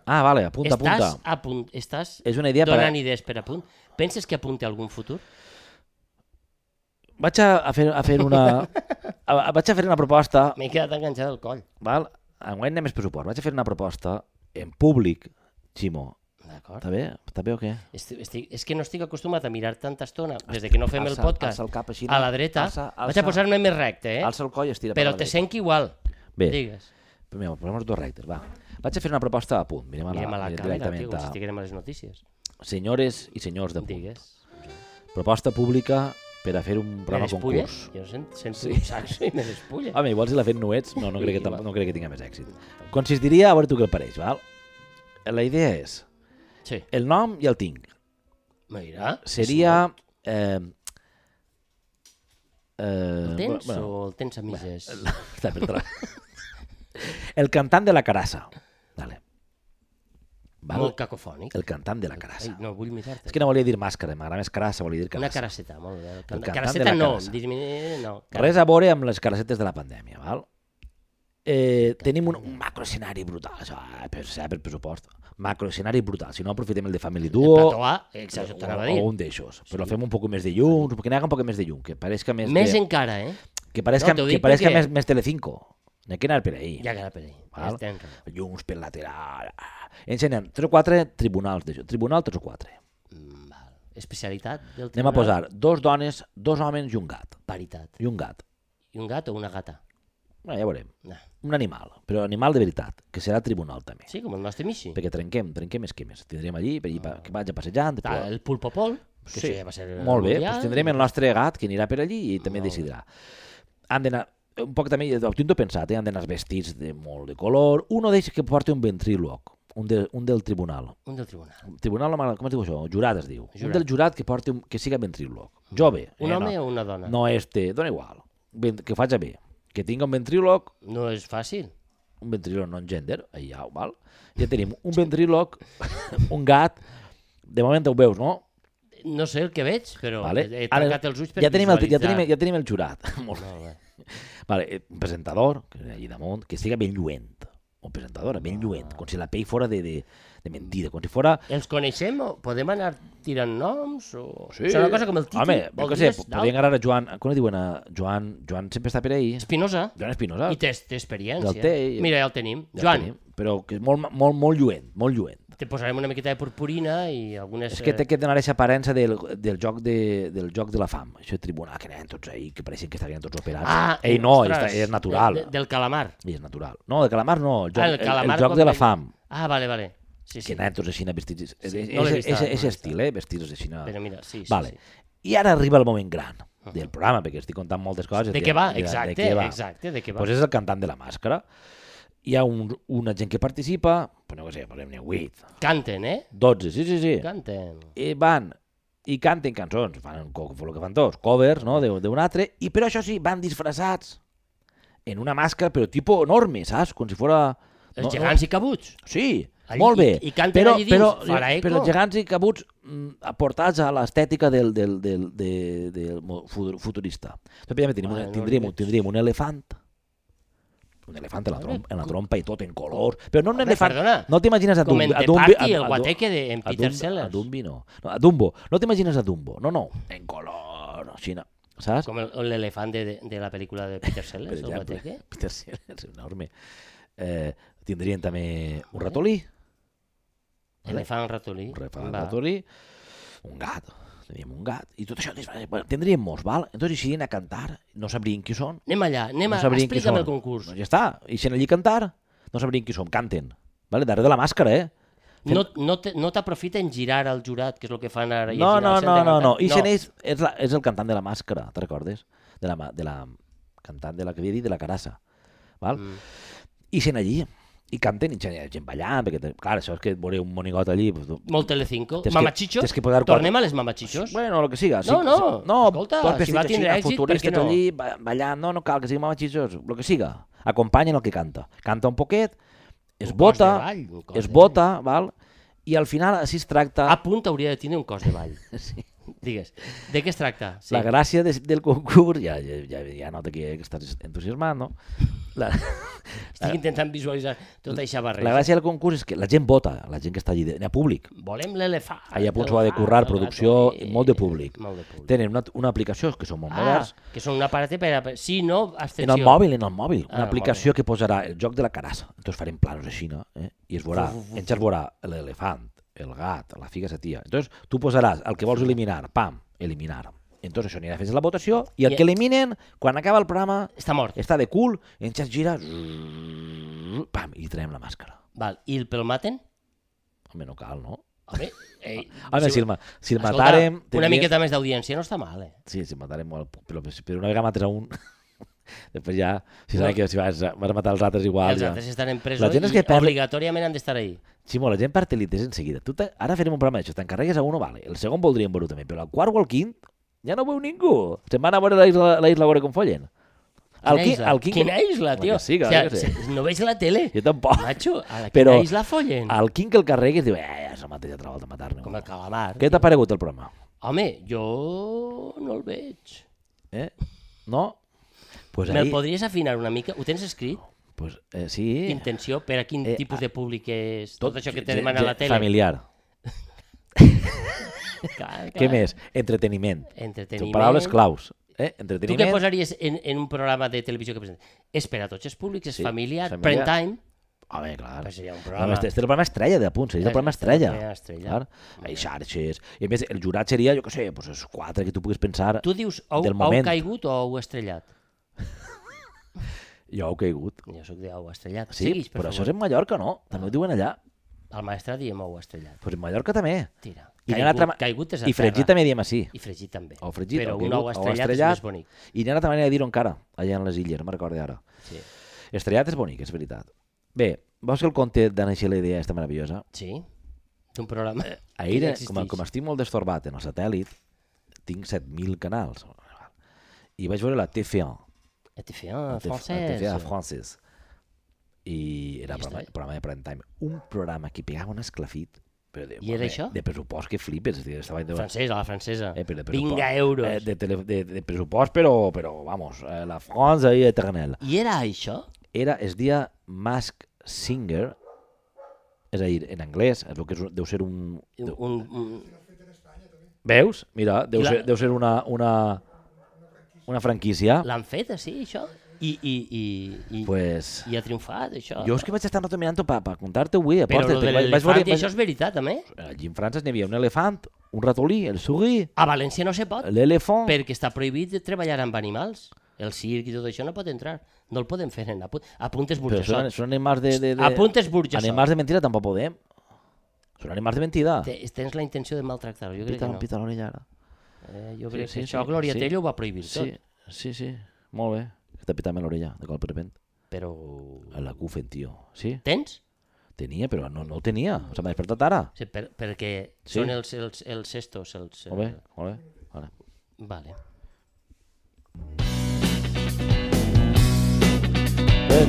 S1: Ah, vale, apunta,
S2: estàs,
S1: apunta.
S2: a punt, estàs
S1: És una idea per a-
S2: donant idees per a punt. Penses que apunti a algun futur?
S1: Vaig a, a, fer, a fer una... a, a, vaig a fer una proposta,
S2: M'he quedat enganxat al coll.
S1: val? Enguany anem més pressupost. Vaig a fer una proposta en públic, Ximo.
S2: D'acord?
S1: Està bé? Està bé o què?
S2: Estic, estic, és que no estic acostumat a mirar tanta estona des de que no fem el
S1: alça-
S2: podcast
S1: alça el cap així,
S2: a la
S1: no?
S2: dreta.
S1: Alça-
S2: Vaig a
S1: alça-
S2: posar-me més recte, eh?
S1: Alça el coll i estira
S2: Però
S1: per la
S2: te
S1: dreta.
S2: senc igual.
S1: Bé,
S2: Digues.
S1: Mira, posem dos rectes, va. Vaig a fer una proposta a punt. Mirem a la,
S2: Mirem a la
S1: mira,
S2: càmera, tio,
S1: directament
S2: com si
S1: a...
S2: estiguérem a les notícies.
S1: Senyores i senyors de punt.
S2: Digues.
S1: Proposta pública per a fer un
S2: Me
S1: programa
S2: despulles?
S1: concurs.
S2: Jo sento, sento un saxo i me despulla.
S1: Home, igual si la fent no ets, no, no, crec que,
S2: Sí,
S1: tam-
S2: va.
S1: no crec que tinga més èxit. Consistiria, a veure tu què el pareix, val? La idea és,
S2: Sí.
S1: el nom ja el tinc,
S2: Mira.
S1: seria... Eh, eh,
S2: El tens
S1: bueno,
S2: o el tens a mitges?
S1: està per tra- el cantant de la carassa. Dale. val?
S2: Molt cacofònic.
S1: El cantant de la carassa.
S2: Ai, no, vull imitar-te.
S1: És que no volia dir màscara, m'agrada més carassa, volia dir
S2: Una
S1: carassa.
S2: caraceta, molt bé. El canta-
S1: cantant de
S2: Caraceta
S1: la
S2: no,
S1: carassa.
S2: disminuir no.
S1: Res a veure amb les caracetes de la pandèmia, val? Eh, tenim un, un macroescenari brutal, això, eh, per, serà per pressupost. Macroescenari brutal, si no aprofitem el de Family Duo
S2: Plató A, exacte,
S1: o,
S2: ho t'anava a dir.
S1: o un d'eixos, però fem un poc més de llum, perquè n'hi haga un poc més de llum, que pareixca més,
S2: Més
S1: de,
S2: encara, eh?
S1: que pareixca,
S2: No, t'ho
S1: que
S2: dic
S1: pareixca
S2: perquè-
S1: més, més Telecinco. N'hi ha que anar per ahí.
S2: Ja que era per ahí.
S1: Val.
S2: Estem raó.
S1: Llums per lateral. ah. Encenen 3 o 4 tribunals d'això. Tribunal 3 o 4.
S2: Mm, Val. Especialitat del
S1: Anem a
S2: tribunal?
S1: posar dos dones, dos homes i un gat.
S2: Paritat.
S1: I un gat.
S2: I un gat o una gata?
S1: Bueno, ja veurem.
S2: No.
S1: Un animal, però animal de veritat, que serà tribunal també.
S2: Sí, com el nostre Michi.
S1: Perquè trenquem, trenquem esquemes. Tindrem allí, per allí, pa- que vaig a passejant.
S2: Ta-
S1: però-
S2: El pulpopol, que
S1: Sí,
S2: això ja va ser el
S1: Molt bé,
S2: mundial.
S1: doncs tindrem el nostre gat que anirà per allí i també
S2: Molt bé.
S1: decidirà. Han d'anar un poc també, ho tinc tot pensat, eh? han d'anar vestits de molt de color. Un d'ells que porti un ventríloc, un, de, un del tribunal.
S2: Un del tribunal.
S1: El tribunal, no m'agrada- com es diu això? Jurat es diu.
S2: Jurat.
S1: Un del jurat que porti un, que siga ventríloc. Jove.
S2: Un
S1: eh,
S2: home
S1: no,
S2: o una dona?
S1: No este, dona igual. Ben, que ho faci bé. Que tinga un ventríloc,
S2: No és fàcil.
S1: un ventríloc non-gender, allà, val? eh, Ja tenim un ventríloc, un gat, de moment ho veus, no?
S2: No sé el que veig, però
S1: Vale.
S2: he
S1: Ara
S2: tancat els ulls per
S1: ja tenim el, ja,
S2: visualitzar.
S1: tenim, ja tenim el jurat. Molt bé.
S2: Molt bé.
S1: Vale, eh, un presentador, que era allí damunt, que siga ben lluent. O presentadora,
S2: Ah.
S1: ben lluent, com si la pell fora de, de, de mentida, com si fora...
S2: Els coneixem? o Podem anar tirant noms? O...
S1: Sí.
S2: És una cosa com el títol.
S1: Home, jo què sé,
S2: voldries
S1: po-
S2: d'alt-
S1: podrien agarrar a Joan... Com li diuen a Joan? Joan sempre està per ahí.
S2: Espinosa.
S1: Joan Espinosa.
S2: I té, té experiència.
S1: Ah. El té i-
S2: Mira, ja el tenim.
S1: Ja el
S2: Joan,
S1: tenim, Però que és molt, molt, molt lluent, molt lluent.
S2: te posarem una miqueta de purpurina i algunes...
S1: És que té
S2: eh,
S1: que donar aquesta aparença del, del, joc de, del joc de la fam. Això de tribunal, que anaven tots ahí, que pareixen que estaven tots operats.
S2: Ah,
S1: Ei, no,
S2: ostres,
S1: està, és natural.
S2: De, de, del calamar.
S1: I és natural. No, de calamar no, el joc,
S2: Ah, el
S1: el, el,
S2: calamar
S1: joc
S2: quan
S1: de la
S2: ve-
S1: fam.
S2: Ah, vale, vale. Sí,
S1: Que
S2: sí.
S1: anaven tots així vestits... És, és,
S2: no l'he
S1: és,
S2: vist, no l'he
S1: és
S2: vist.
S1: estil, eh? Vestits així.
S2: Però mira, sí, sí,
S1: vale.
S2: sí.
S1: I ara arriba el moment gran del programa, perquè estic contant moltes coses.
S2: De què va? Exacte, exacte, de què va.
S1: Pues és el cantant de la màscara. Hi ha un, una gent que participa, però no sé, posem-ne 8,
S2: Canten, eh?
S1: 12, sí, sí, sí.
S2: Canten.
S1: I eh, van i canten cançons, fan co- el que fan tots, covers, no?, de- d'un altre, i però això sí, van disfressats en una màscara, però tipus enorme, saps? Com si fora...
S2: Els
S1: no- no-
S2: gegants i cabuts.
S1: Sí,
S2: Allí-
S1: molt bé.
S2: i- i canten
S1: però,
S2: allí dins,
S1: però, eh,
S2: farà eco.
S1: però els gegants i cabuts mm, aportats a l'estètica del, del, del, del, del mo- futur- futurista. Tot bé, tenim
S2: Vale,
S1: una,
S2: no
S1: tindríem, un,
S2: veig.
S1: tindríem un elefant, un elefant en la, trompa, en la trompa i tot en colors, però no un
S2: Home,
S1: elefant,
S2: perdona,
S1: no t'imagines a
S2: com
S1: Dumbo.
S2: en The
S1: a Dumbo,
S2: Party, el guateque de- en Peter
S1: Dumbo-
S2: Sellers.
S1: A Dumbo no. no. A Dumbo, no t'imagines a Dumbo, no, no, en color, així, no. saps?
S2: Com el- l'elefant de, de, de la pel·lícula de Peter
S1: per
S2: Sellers, el
S1: exemple,
S2: guateque.
S1: Peter Sellers, enorme. Eh, tindrien també un ratolí,
S2: Elefant ratolí.
S1: un refant
S2: Va.
S1: ratolí, un gat, teníem un gat, i tot això, disfressat. bueno, tindríem molts, val? Entonces, si a cantar, no sabrien qui són.
S2: Anem allà, anem
S1: no
S2: a...
S1: sabrien qui són.
S2: Explica'm el concurs.
S1: Doncs ja està, i si allí a cantar, no sabrien qui són, canten. Vale? Darrere de la màscara, eh? Fem-
S2: No, no, te- no t'aprofiten girar al jurat, que és el que fan ara. i
S1: No,
S2: girar
S1: no,
S2: al centre
S1: no, no,
S2: cantant.
S1: no. I no. és, és, la, és el cantant de la màscara, te recordes? De la, ma- de la cantant de la que havia dit, de la carassa. Val? Mm. I sent allí, i canten, i gent, gent ballant, perquè, te- clar, això és que veuré un monigot allí, pues, tu-
S2: Molt Telecinco.
S1: Tens que-
S2: Mamachichos.
S1: tens que posar quatre-
S2: Tornem a les mamachichos.
S1: Bueno, el que siga.
S2: No, no, escolta,
S1: pots
S2: si va
S1: vestit
S2: tindre
S1: així,
S2: èxit,
S1: futurista,
S2: per què no?
S1: tot Allí, ba- ballant, no, no cal que sigui mamachichos, el que siga. Acompanyen el que canta. Canta un poquet, es
S2: Un cos de
S1: bota,
S2: ball, un cos
S1: es
S2: de
S1: bota, val? I al final així es tracta
S2: A punt hauria de tenir un cos de ball. sí. Digues, de què es tracta? Sí.
S1: la gràcia de, del concurs, ja, ja, ja, ja nota que estàs entusiasmat, no? La,
S2: Estic intentant visualitzar tota aquesta barreja.
S1: la gràcia del concurs és que la gent vota, la gent que està allí, de, a públic.
S2: Volem l'elefant.
S1: Allà a punt
S2: el
S1: s'ho ha de
S2: gat,
S1: currar,
S2: el
S1: producció,
S2: ratolí.
S1: molt de públic.
S2: Molt de públic.
S1: Tenen una, una aplicació, que són molt
S2: Ah,
S1: moderns,
S2: que són un aparat per... a- Sí, no,
S1: En
S2: abstenció.
S1: el mòbil, en el mòbil.
S2: Ah, en
S1: Una
S2: el
S1: aplicació que posarà el joc de la carassa. Entonces farem planos així, no? Eh? I es veurà, ens es veurà l'elefant, el gat, la figa satia. Entonces tu posaràs el que vols eliminar, pam, eliminar. Entonces això anirà fent la votació i el
S2: I-
S1: que eliminen, quan acaba el programa,
S2: Està mort.
S1: està de cul, ens es gira, zzzz, pam, i traiem la màscara.
S2: Val. I el pel maten?
S1: Home, no cal, no?
S2: Home, eh, ei,
S1: Home, si el, ma- si el
S2: Escolta,
S1: matàrem...
S2: Una
S1: tindríem-
S2: miqueta més d'audiència no està mal, eh?
S1: Sí, si matarem molt, però, però una vegada mates a un... Després ja, si saben que si vas, vas matar els altres igual...
S2: Els
S1: ja.
S2: altres estan en presó
S1: La gent és
S2: i
S1: que perd-
S2: obligatòriament han d'estar ahí.
S1: Ximo, la gent partilites enseguida. Tu te- ara farem un programa d'això, t'encarregues a uno, vale. El segon voldríem veure també, però el quart o el quint ja no veu ningú. Se'n van a veure la isla, la isla a veure com follen. El,
S2: Quina
S1: qui-
S2: isla?
S1: el King...
S2: Quina isla, tio?
S1: Que sí, que
S2: o sea,
S1: jo què sé.
S2: se- no veig la tele.
S1: Jo tampoc.
S2: Macho, a la
S1: Però Ah.
S2: quina isla follen?
S1: El King el carrer que es diu, eh, ja s'ha mateix altra volta a matar-ne.
S2: Com el calamar.
S1: Què t'ha paregut el programa?
S2: Home, jo no el veig.
S1: Eh? No? Pues
S2: Me'l
S1: ahí,
S2: podries afinar una mica? Ho tens escrit?
S1: pues, eh, sí.
S2: Intenció per a quin
S1: Eh,
S2: tipus de públic és tot, això que te
S1: ge-
S2: demana
S1: ge-
S2: la tele?
S1: Familiar.
S2: Clar,
S1: Què
S2: clar.
S1: més? Entreteniment. Són
S2: Entreteniment.
S1: paraules claus. Eh?
S2: Tu què
S1: Entreteniment.
S2: posaries en, en un programa de televisió que presentes? És per a tots els públics, és
S1: Sí,
S2: familiar,
S1: familiar.
S2: prime time.
S1: Home, clar.
S2: Pues seria un
S1: No,
S2: programa.
S1: no, este, este és el programa estrella de punts, és el
S2: Este-
S1: programa
S2: este és el
S1: estrella.
S2: programa estrella.
S1: Clar. Hi xarxes. I a més, el jurat seria, jo què sé, pues els quatre que tu puguis pensar.
S2: Tu dius ou,
S1: del
S2: ou
S1: moment.
S2: caigut o ou estrellat?
S1: Jo heu caigut.
S2: Jo sóc de ou estrellat.
S1: Sí,
S2: Segueix, per
S1: però això
S2: favor.
S1: és en Mallorca, no? També ho diuen allà.
S2: Al maestrat diem ou estrellat.
S1: Pues en Mallorca també.
S2: Tira.
S1: I n'hi ha
S2: Caigut,
S1: una altra ma-
S2: caigut és a
S1: I fregit
S2: terra.
S1: també diem així.
S2: I fregit també.
S1: O fregit,
S2: Però
S1: o
S2: un
S1: caigut,
S2: ou
S1: o
S2: estrellat,
S1: estrellat.
S2: és més bonic.
S1: I n'hi ha una altra manera de dir-ho encara, allà en les illes, no me'n recordo ara.
S2: Sí.
S1: Estrellat és bonic, és veritat. Bé, veus que el conte d'Anna Xela idea està meravellosa?
S2: Sí. D'un programa que
S1: Ahir, eh,
S2: ja
S1: com,
S2: existeix.
S1: com estic molt destorbat en el satèl·lit, tinc 7.000 canals. I vaig veure la TF1,
S2: Et t'he fet en
S1: la
S2: Ah, francès.
S1: TF1 francès. I era
S2: I ja
S1: programa,
S2: està.
S1: programa de prime time. Un programa que pegava un esclafit, però de,
S2: I era
S1: home,
S2: això?
S1: de pressupost que flipes. és a dir, Estava de,
S2: Francès, a la francesa.
S1: eh, però de pressupost-
S2: Vinga, euros.
S1: Eh, de, tele, de, de pressupost, però, però vamos, eh, la França i eternel.
S2: I era això?
S1: era, es dia Mask Singer, és a dir, en anglès, es veu que és, un- deu ser un...
S2: Un,
S1: Deu,
S2: un, un...
S1: veus? Mira, deu,
S2: I la-
S1: ser, deu ser una, una, una franquícia.
S2: L'han fet, sí, això? I, i, i, i,
S1: Pues,
S2: i ha triomfat, això?
S1: jo és que vaig estar determinant pa, pa contar-te avui.
S2: Però
S1: aposta't,
S2: lo de
S1: vaig- vaig
S2: l'elefant,
S1: veure-
S2: i
S1: vaig-
S2: això és veritat, també?
S1: Allí en França n'hi havia un elefant, un ratolí, el sugui,
S2: A València no se pot,
S1: l'elefant...
S2: perquè està prohibit de treballar amb animals. El circ i tot això no pot entrar. No el podem fer, nen. Apu- Apuntes
S1: Però són,
S2: burgesot.
S1: són animals de... de, de...
S2: Apuntes burgesot.
S1: Animals de mentida tampoc podem. Són animals de mentida.
S2: Te- Tens la intenció de maltractar-ho, jo crec que
S1: Pita, no.
S2: no.
S1: pita l'orella ara.
S2: Eh, jo crec
S1: sí,
S2: que això
S1: sí,
S2: Gloria
S1: sí.
S2: Tello ho va prohibir tot,
S1: Sí, sí, sí. Molt bé. Que T'ha pitat l'orella, de cop de repente.
S2: però...
S1: A la Cufen, tio. Sí,
S2: Tens?
S1: tenia, però no, no ho tenia. Se m'ha despertat ara.
S2: Sí, per, perquè
S1: Sí.
S2: són els, els, els estos, els... eh,
S1: Molt bé, molt bé. Vale.
S2: Vale.
S1: Eh,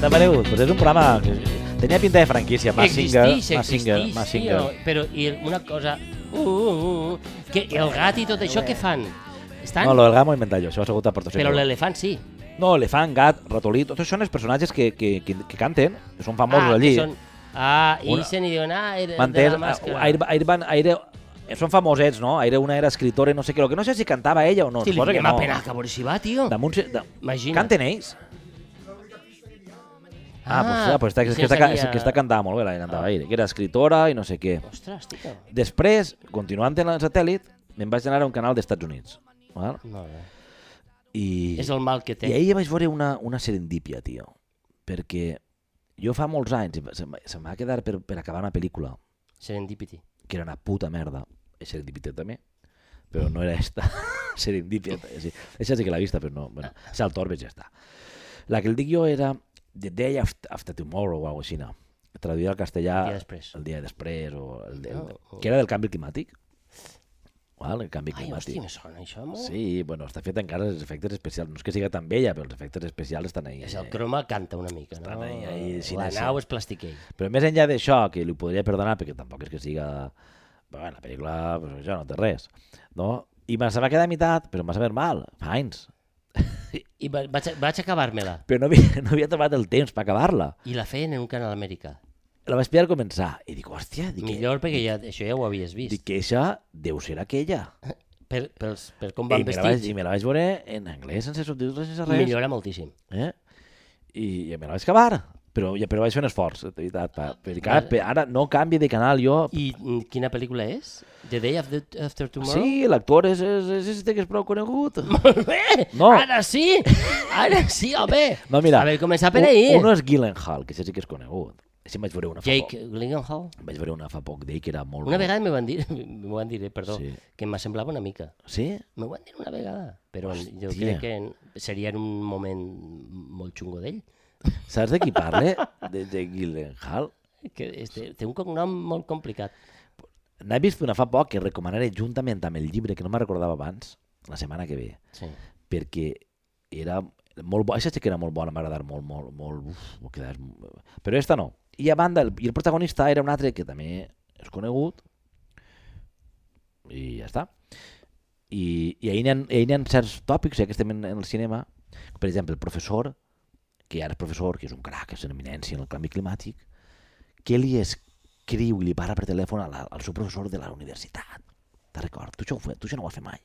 S1: T'ha paregut? Pues és un programa... que Tenia pinta de franquícia. Massinger,
S2: existeix,
S1: Massinger,
S2: existeix,
S1: Massinger.
S2: sí, o- però i una cosa... Uh, uh, uh, que el gat i tot això què fan? Estan?
S1: No, lo del gat m'ho he inventat jo, això m'ha segut a Porto Seco.
S2: però l'elefant sí.
S1: No, elefant, gat, ratolí, tots són els personatges que, que, que, que canten, que són famosos
S2: ah,
S1: allí.
S2: que Són... Ah, i
S1: Una-
S2: se n'hi diuen, ah, era de
S1: M'entens?
S2: la màscara.
S1: Air, Air Van, Air, eh, són famosets, no? Aire una era escritora i no sé què. Lo que no sé si cantava ella o no.
S2: Hosti, li
S1: suposo que
S2: fiquem a
S1: no.
S2: penar, que a veure si va, tio.
S1: Damunt, se- da...
S2: Imagina't.
S1: Canten ells. Ah, pues, ah, pues esta, que,
S2: potser
S1: esta,
S2: seria-
S1: que esta cantava molt bé, la que cantava ahir, que era escritora i no sé què.
S2: Ostres, tio.
S1: Després, continuant en el satèl·lit, me'n vaig anar a un canal d'Estats Units. Val?
S2: Molt bé.
S1: I,
S2: És el mal que té.
S1: I ahir vaig veure una, una serendípia, tio. Perquè jo fa molts anys, i se, m- se m'ha quedat per, per acabar una pel·lícula,
S2: Serendipity.
S1: que era una puta merda, és serendípia també, però no era esta, serendípia. Sí, aquesta sí que l'he vista, però no, bueno, és el Torbes ja està. La que el dic jo era The Day After, after Tomorrow o alguna cosa així, no. traduïda al castellà
S2: El dia després.
S1: el dia després o el, el,
S2: Oh, oh.
S1: que era del canvi climàtic. Val, el canvi
S2: Ai,
S1: climàtic.
S2: hòstia, me sona això, molt.
S1: Sí, bueno, està fet encara els efectes especials. No és que siga tan vella, però els efectes especials estan ahí.
S2: És el
S1: eh?
S2: croma canta una mica, no?
S1: Estan ahí, ahí,
S2: la
S1: xinesa.
S2: nau és plastiquell.
S1: Però més enllà d'això, que li ho podria perdonar, perquè tampoc és que siga... Però bueno, la pel·lícula, pues, això no té res. No? I me se va quedar a meitat, però em va saber mal, fa anys.
S2: I va- vaig, a- vaig acabar-me-la.
S1: Però no havia, no havia trobat el temps per acabar-la.
S2: I la feien en un canal d'Amèrica.
S1: La vaig pillar al començar. I dic, hòstia, dic,
S2: Millor perquè ja, això ja ho havies
S1: que, dic
S2: vist.
S1: que això deu ser aquella.
S2: Per, pels, per com
S1: I
S2: van
S1: me, la vaig, I
S2: vestits.
S1: me la vaig veure en anglès, sense subtítols, sense res.
S2: Millora moltíssim.
S1: Eh? I, I me la vaig acabar. Però, ja, però vaig fer un esforç, de veritat. Pa, perquè ara, per- ara no canvi de canal jo.
S2: I mm, quina pel·lícula és? The Day After, after Tomorrow?
S1: Sí, l'actor és, és, és este que és prou conegut.
S2: Molt bé!
S1: No.
S2: Ara sí! Ara sí, home!
S1: No, mira,
S2: A veure, començar per
S1: un-
S2: ahir.
S1: Un, és Gyllenhaal, que això sí que és conegut. Així en vaig veure una fa
S2: Jake Gyllenhaal.
S1: poc. Vaig veure una fa poc d'ell que era molt...
S2: Una
S1: bo.
S2: vegada me van dir, m'ho van dir, eh, perdó,
S1: Sí.
S2: que m'assemblava una mica.
S1: Sí?
S2: M'ho van dir una vegada, però jo
S1: Hòstia.
S2: crec que en- seria en un moment molt xungo d'ell.
S1: Saps de qui parle? De, de Gyllenhaal?
S2: Que és, té, té un cognom molt complicat.
S1: N'he vist una fa poc que recomanaré juntament amb el llibre que no me recordava abans, la setmana que ve,
S2: Sí.
S1: perquè era, molt bo, aquesta sí que era molt bona, m'agradar molt, molt, molt, uf, m'ho quedes... però esta no. I a banda, el, i el protagonista era un altre que també és conegut, i ja està. I, i ahir, hi ha, ahir hi ha certs tòpics, ja que estem en, en el cinema, per exemple, el professor, que ara és professor, que és un crac, és una eminència en el canvi climàtic, que li escriu i li parla per telèfon a la, al seu professor de la universitat. Te'n record? Tu això, ho fe, tu això no ho has fet mai.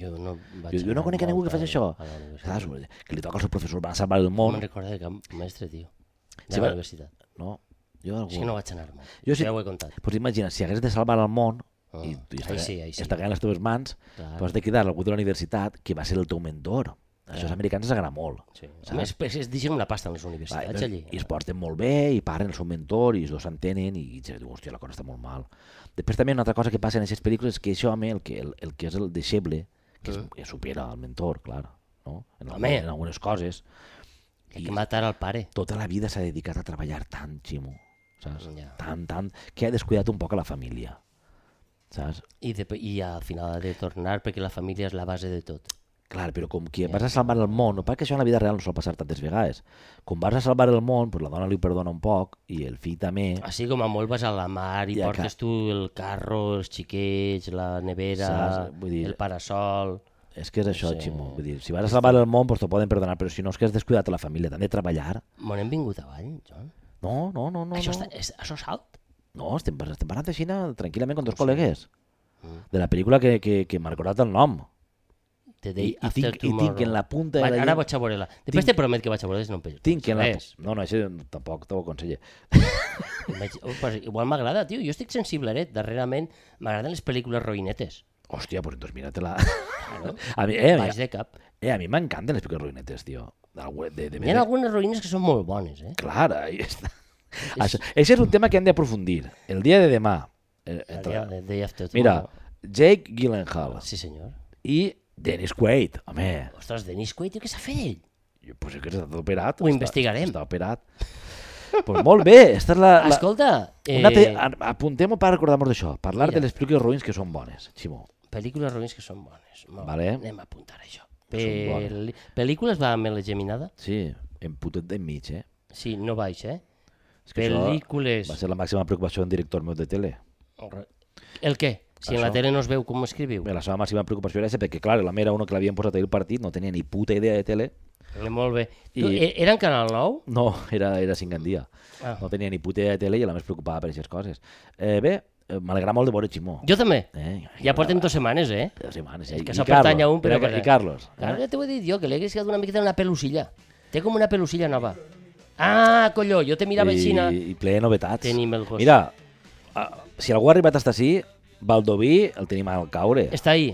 S2: Jo no, vaig
S1: Jo, jo
S2: anar
S1: no conec a ningú
S2: molt
S1: que faci
S2: la-
S1: això.
S2: a la universitat.
S1: Saps? Que li toca al seu professor, van a salvar el
S2: No
S1: món.
S2: me'n recordo de cap mestre, tio. De
S1: Sí,
S2: la
S1: però-
S2: universitat.
S1: No, jo algú...
S2: És que no vaig anar mai.
S1: Jo sí-
S2: Ja ho he contat.
S1: Pues imagina, si hagués de salvar el món,
S2: Ah,
S1: i, i
S2: ahí
S1: està,
S2: sí, ahí sí.
S1: està caient a les teves mans,
S2: Clar.
S1: tu has de quedar algú de la universitat que va ser el teu mentor. Això als americans els agrada molt.
S2: Sí. A més, pues, es deixen una pasta en les
S1: Va,
S2: universitats,
S1: doncs,
S2: allí.
S1: Ah. I es porten molt bé, i parlen el seu mentor, i els dos s'entenen, i, i se diu, hòstia, la cosa està molt mal. Després també una altra cosa que passa en aquestes pel·lícules és que això, home, el que, el, el que és el deixeble, que, és, que supera el mentor, clar, no? En,
S2: Mm. Home.
S1: home. en algunes coses,
S2: Hay que matar al pare.
S1: tota la vida s'ha dedicat a treballar tant, Ximo, saps?
S2: Ja.
S1: Tant, tant, que ha descuidat un poc a la família, saps?
S2: I, de, I al final ha de tornar perquè la família és la base de tot.
S1: Clar, però com que vas a salvar el món, no perquè això en la vida real no sol passar tantes vegades, com vas a salvar el món, doncs la dona li ho perdona un poc, i el fill també,
S2: Així com a molt vas a la mar i
S1: Ja,
S2: portes tu el carro, els xiquets, la nevera,
S1: Saps? Vull dir-
S2: el parasol...
S1: És que és això,
S2: Sí.
S1: sí. Ximo. Vull dir, si vas a salvar el món, doncs t'ho poden perdonar, però si no és que has descuidat a la família, t'han de treballar.
S2: M'on hem vingut avall, Joan?
S1: No, no, no, no.
S2: això,
S1: no.
S2: està, és, això és alt?
S1: No, estem, pas- estem parlant de Xina tranquil·lament amb dos col·legues.
S2: Mm.
S1: De la pel·lícula que, que, que m'ha recordat el nom.
S2: The
S1: I,
S2: day
S1: i,
S2: after
S1: tinc, I
S2: tomorrow.
S1: tinc en la punta de
S2: Va,
S1: la
S2: ara vaig a veure-la. Després
S1: Tinc-
S2: te promet que vaig a veure-la, si no em penso.
S1: Tinc en la...
S2: Doncs Res.
S1: pu- No, no, això tampoc t'ho aconsello.
S2: Vaig... Oh, pues, igual m'agrada, tio. Jo estic sensibleret. Darrerament m'agraden les pel·lícules roïnetes.
S1: Hòstia, doncs, doncs mira-te-la. A mi, eh, a
S2: Baix
S1: mi,
S2: de cap.
S1: eh, a mi m'encanten les piques ruïnetes, tio. Del web de, de,
S2: N'hi
S1: de,
S2: ha algunes roïnes que són molt bones, eh?
S1: Clar, ahí està. Això, això és un tema que hem d'aprofundir. El dia de demà. Eh,
S2: El
S1: entre-
S2: dia- The day after
S1: Mira,
S2: tomorrow.
S1: Jake Gyllenhaal
S2: Sí, senyor.
S1: i Dennis Quaid. Home,
S2: Ostres, Dennis Quaid, tio, què s'ha fet ell?
S1: jo penso que està tot operat.
S2: Ho
S1: està-
S2: investigarem.
S1: Està operat. pues molt bé, esta és la... la...
S2: Escolta, eh,
S1: Una te... a- Apuntem-ho per recordar-nos d'això. Parlar
S2: Mira.
S1: de les pel·lícules ruïns que són bones, Ximo.
S2: pel·lícules roïnes que són bones. Molt
S1: Vale.
S2: bé, Anem a apuntar això.
S1: són bones.
S2: Pel... Pel·lícules va amb la geminada?
S1: Sí, hem putet d'enmig, eh?
S2: Sí, no baix, eh?
S1: És que això
S2: Pel·lícules...
S1: va ser la màxima preocupació d'un director meu de tele.
S2: El què? Si en la
S1: Això.
S2: tele no es veu com ho escriviu.
S1: Bé, La seva màxima preocupació era aquesta, perquè, clar, la mera uno que l'havien posat ahir al partit no tenia ni puta idea de tele.
S2: Eh, Molt bé. Tu,
S1: I-
S2: e- Era en Canal 9?
S1: No, era, era cingandia.
S2: Ah.
S1: Ah. No tenia ni puta idea de tele i a la més preocupava per aquestes coses. Eh, bé, eh, m'alegra molt de veure Ximó.
S2: Jo també.
S1: Eh,
S2: Ja portem dues setmanes, eh?
S1: Dos setmanes.
S2: És
S1: eh?
S2: que
S1: I
S2: s'ha
S1: Carlos,
S2: pertany a un, però... Ah,
S1: espera, I Carlos. eh?
S2: Claro, ja t'ho he dit jo, que li he quedat una miqueta una pelusilla. Té com una pelusilla nova. Ah, colló, jo te mirava així. na-
S1: I, I ple de novetats.
S2: Tenim el gos.
S1: Mira, ah, si algú ha arribat fins ací, Valdoví el tenim al caure.
S2: Està ahí.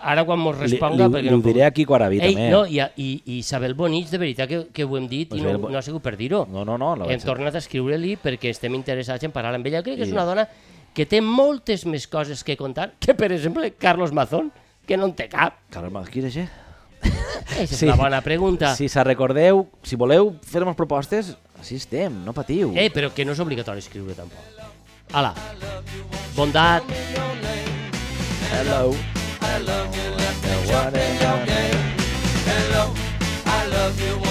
S2: Ara quan mos
S1: Li, li,
S2: responga...
S1: li,
S2: perquè no
S1: ho
S2: puc-
S1: diré aquí Quaraví,
S2: Ei,
S1: també.
S2: no, i, i, i Isabel Bonich, de veritat que, que ho hem dit i no,
S1: Isabel Bo-
S2: no ha sigut per dir-ho.
S1: no, no, no. La
S2: Hem
S1: vaig...
S2: tornat a escriure-li perquè estem interessats en parlar amb ella. Crec que és una dona que té moltes més coses que contar que, per exemple, Carlos Mazón, que no en té cap.
S1: Carles, Mas, qui és això?
S2: Aquesta és
S1: Sí.
S2: una bona pregunta.
S1: Si se recordeu, si voleu fer-nos propostes, així estem, no patiu.
S2: Eh, però que no és obligatori escriure, tampoc. Hala, bondat.
S1: Hello. Hello. I love you, left me Hello, I love you,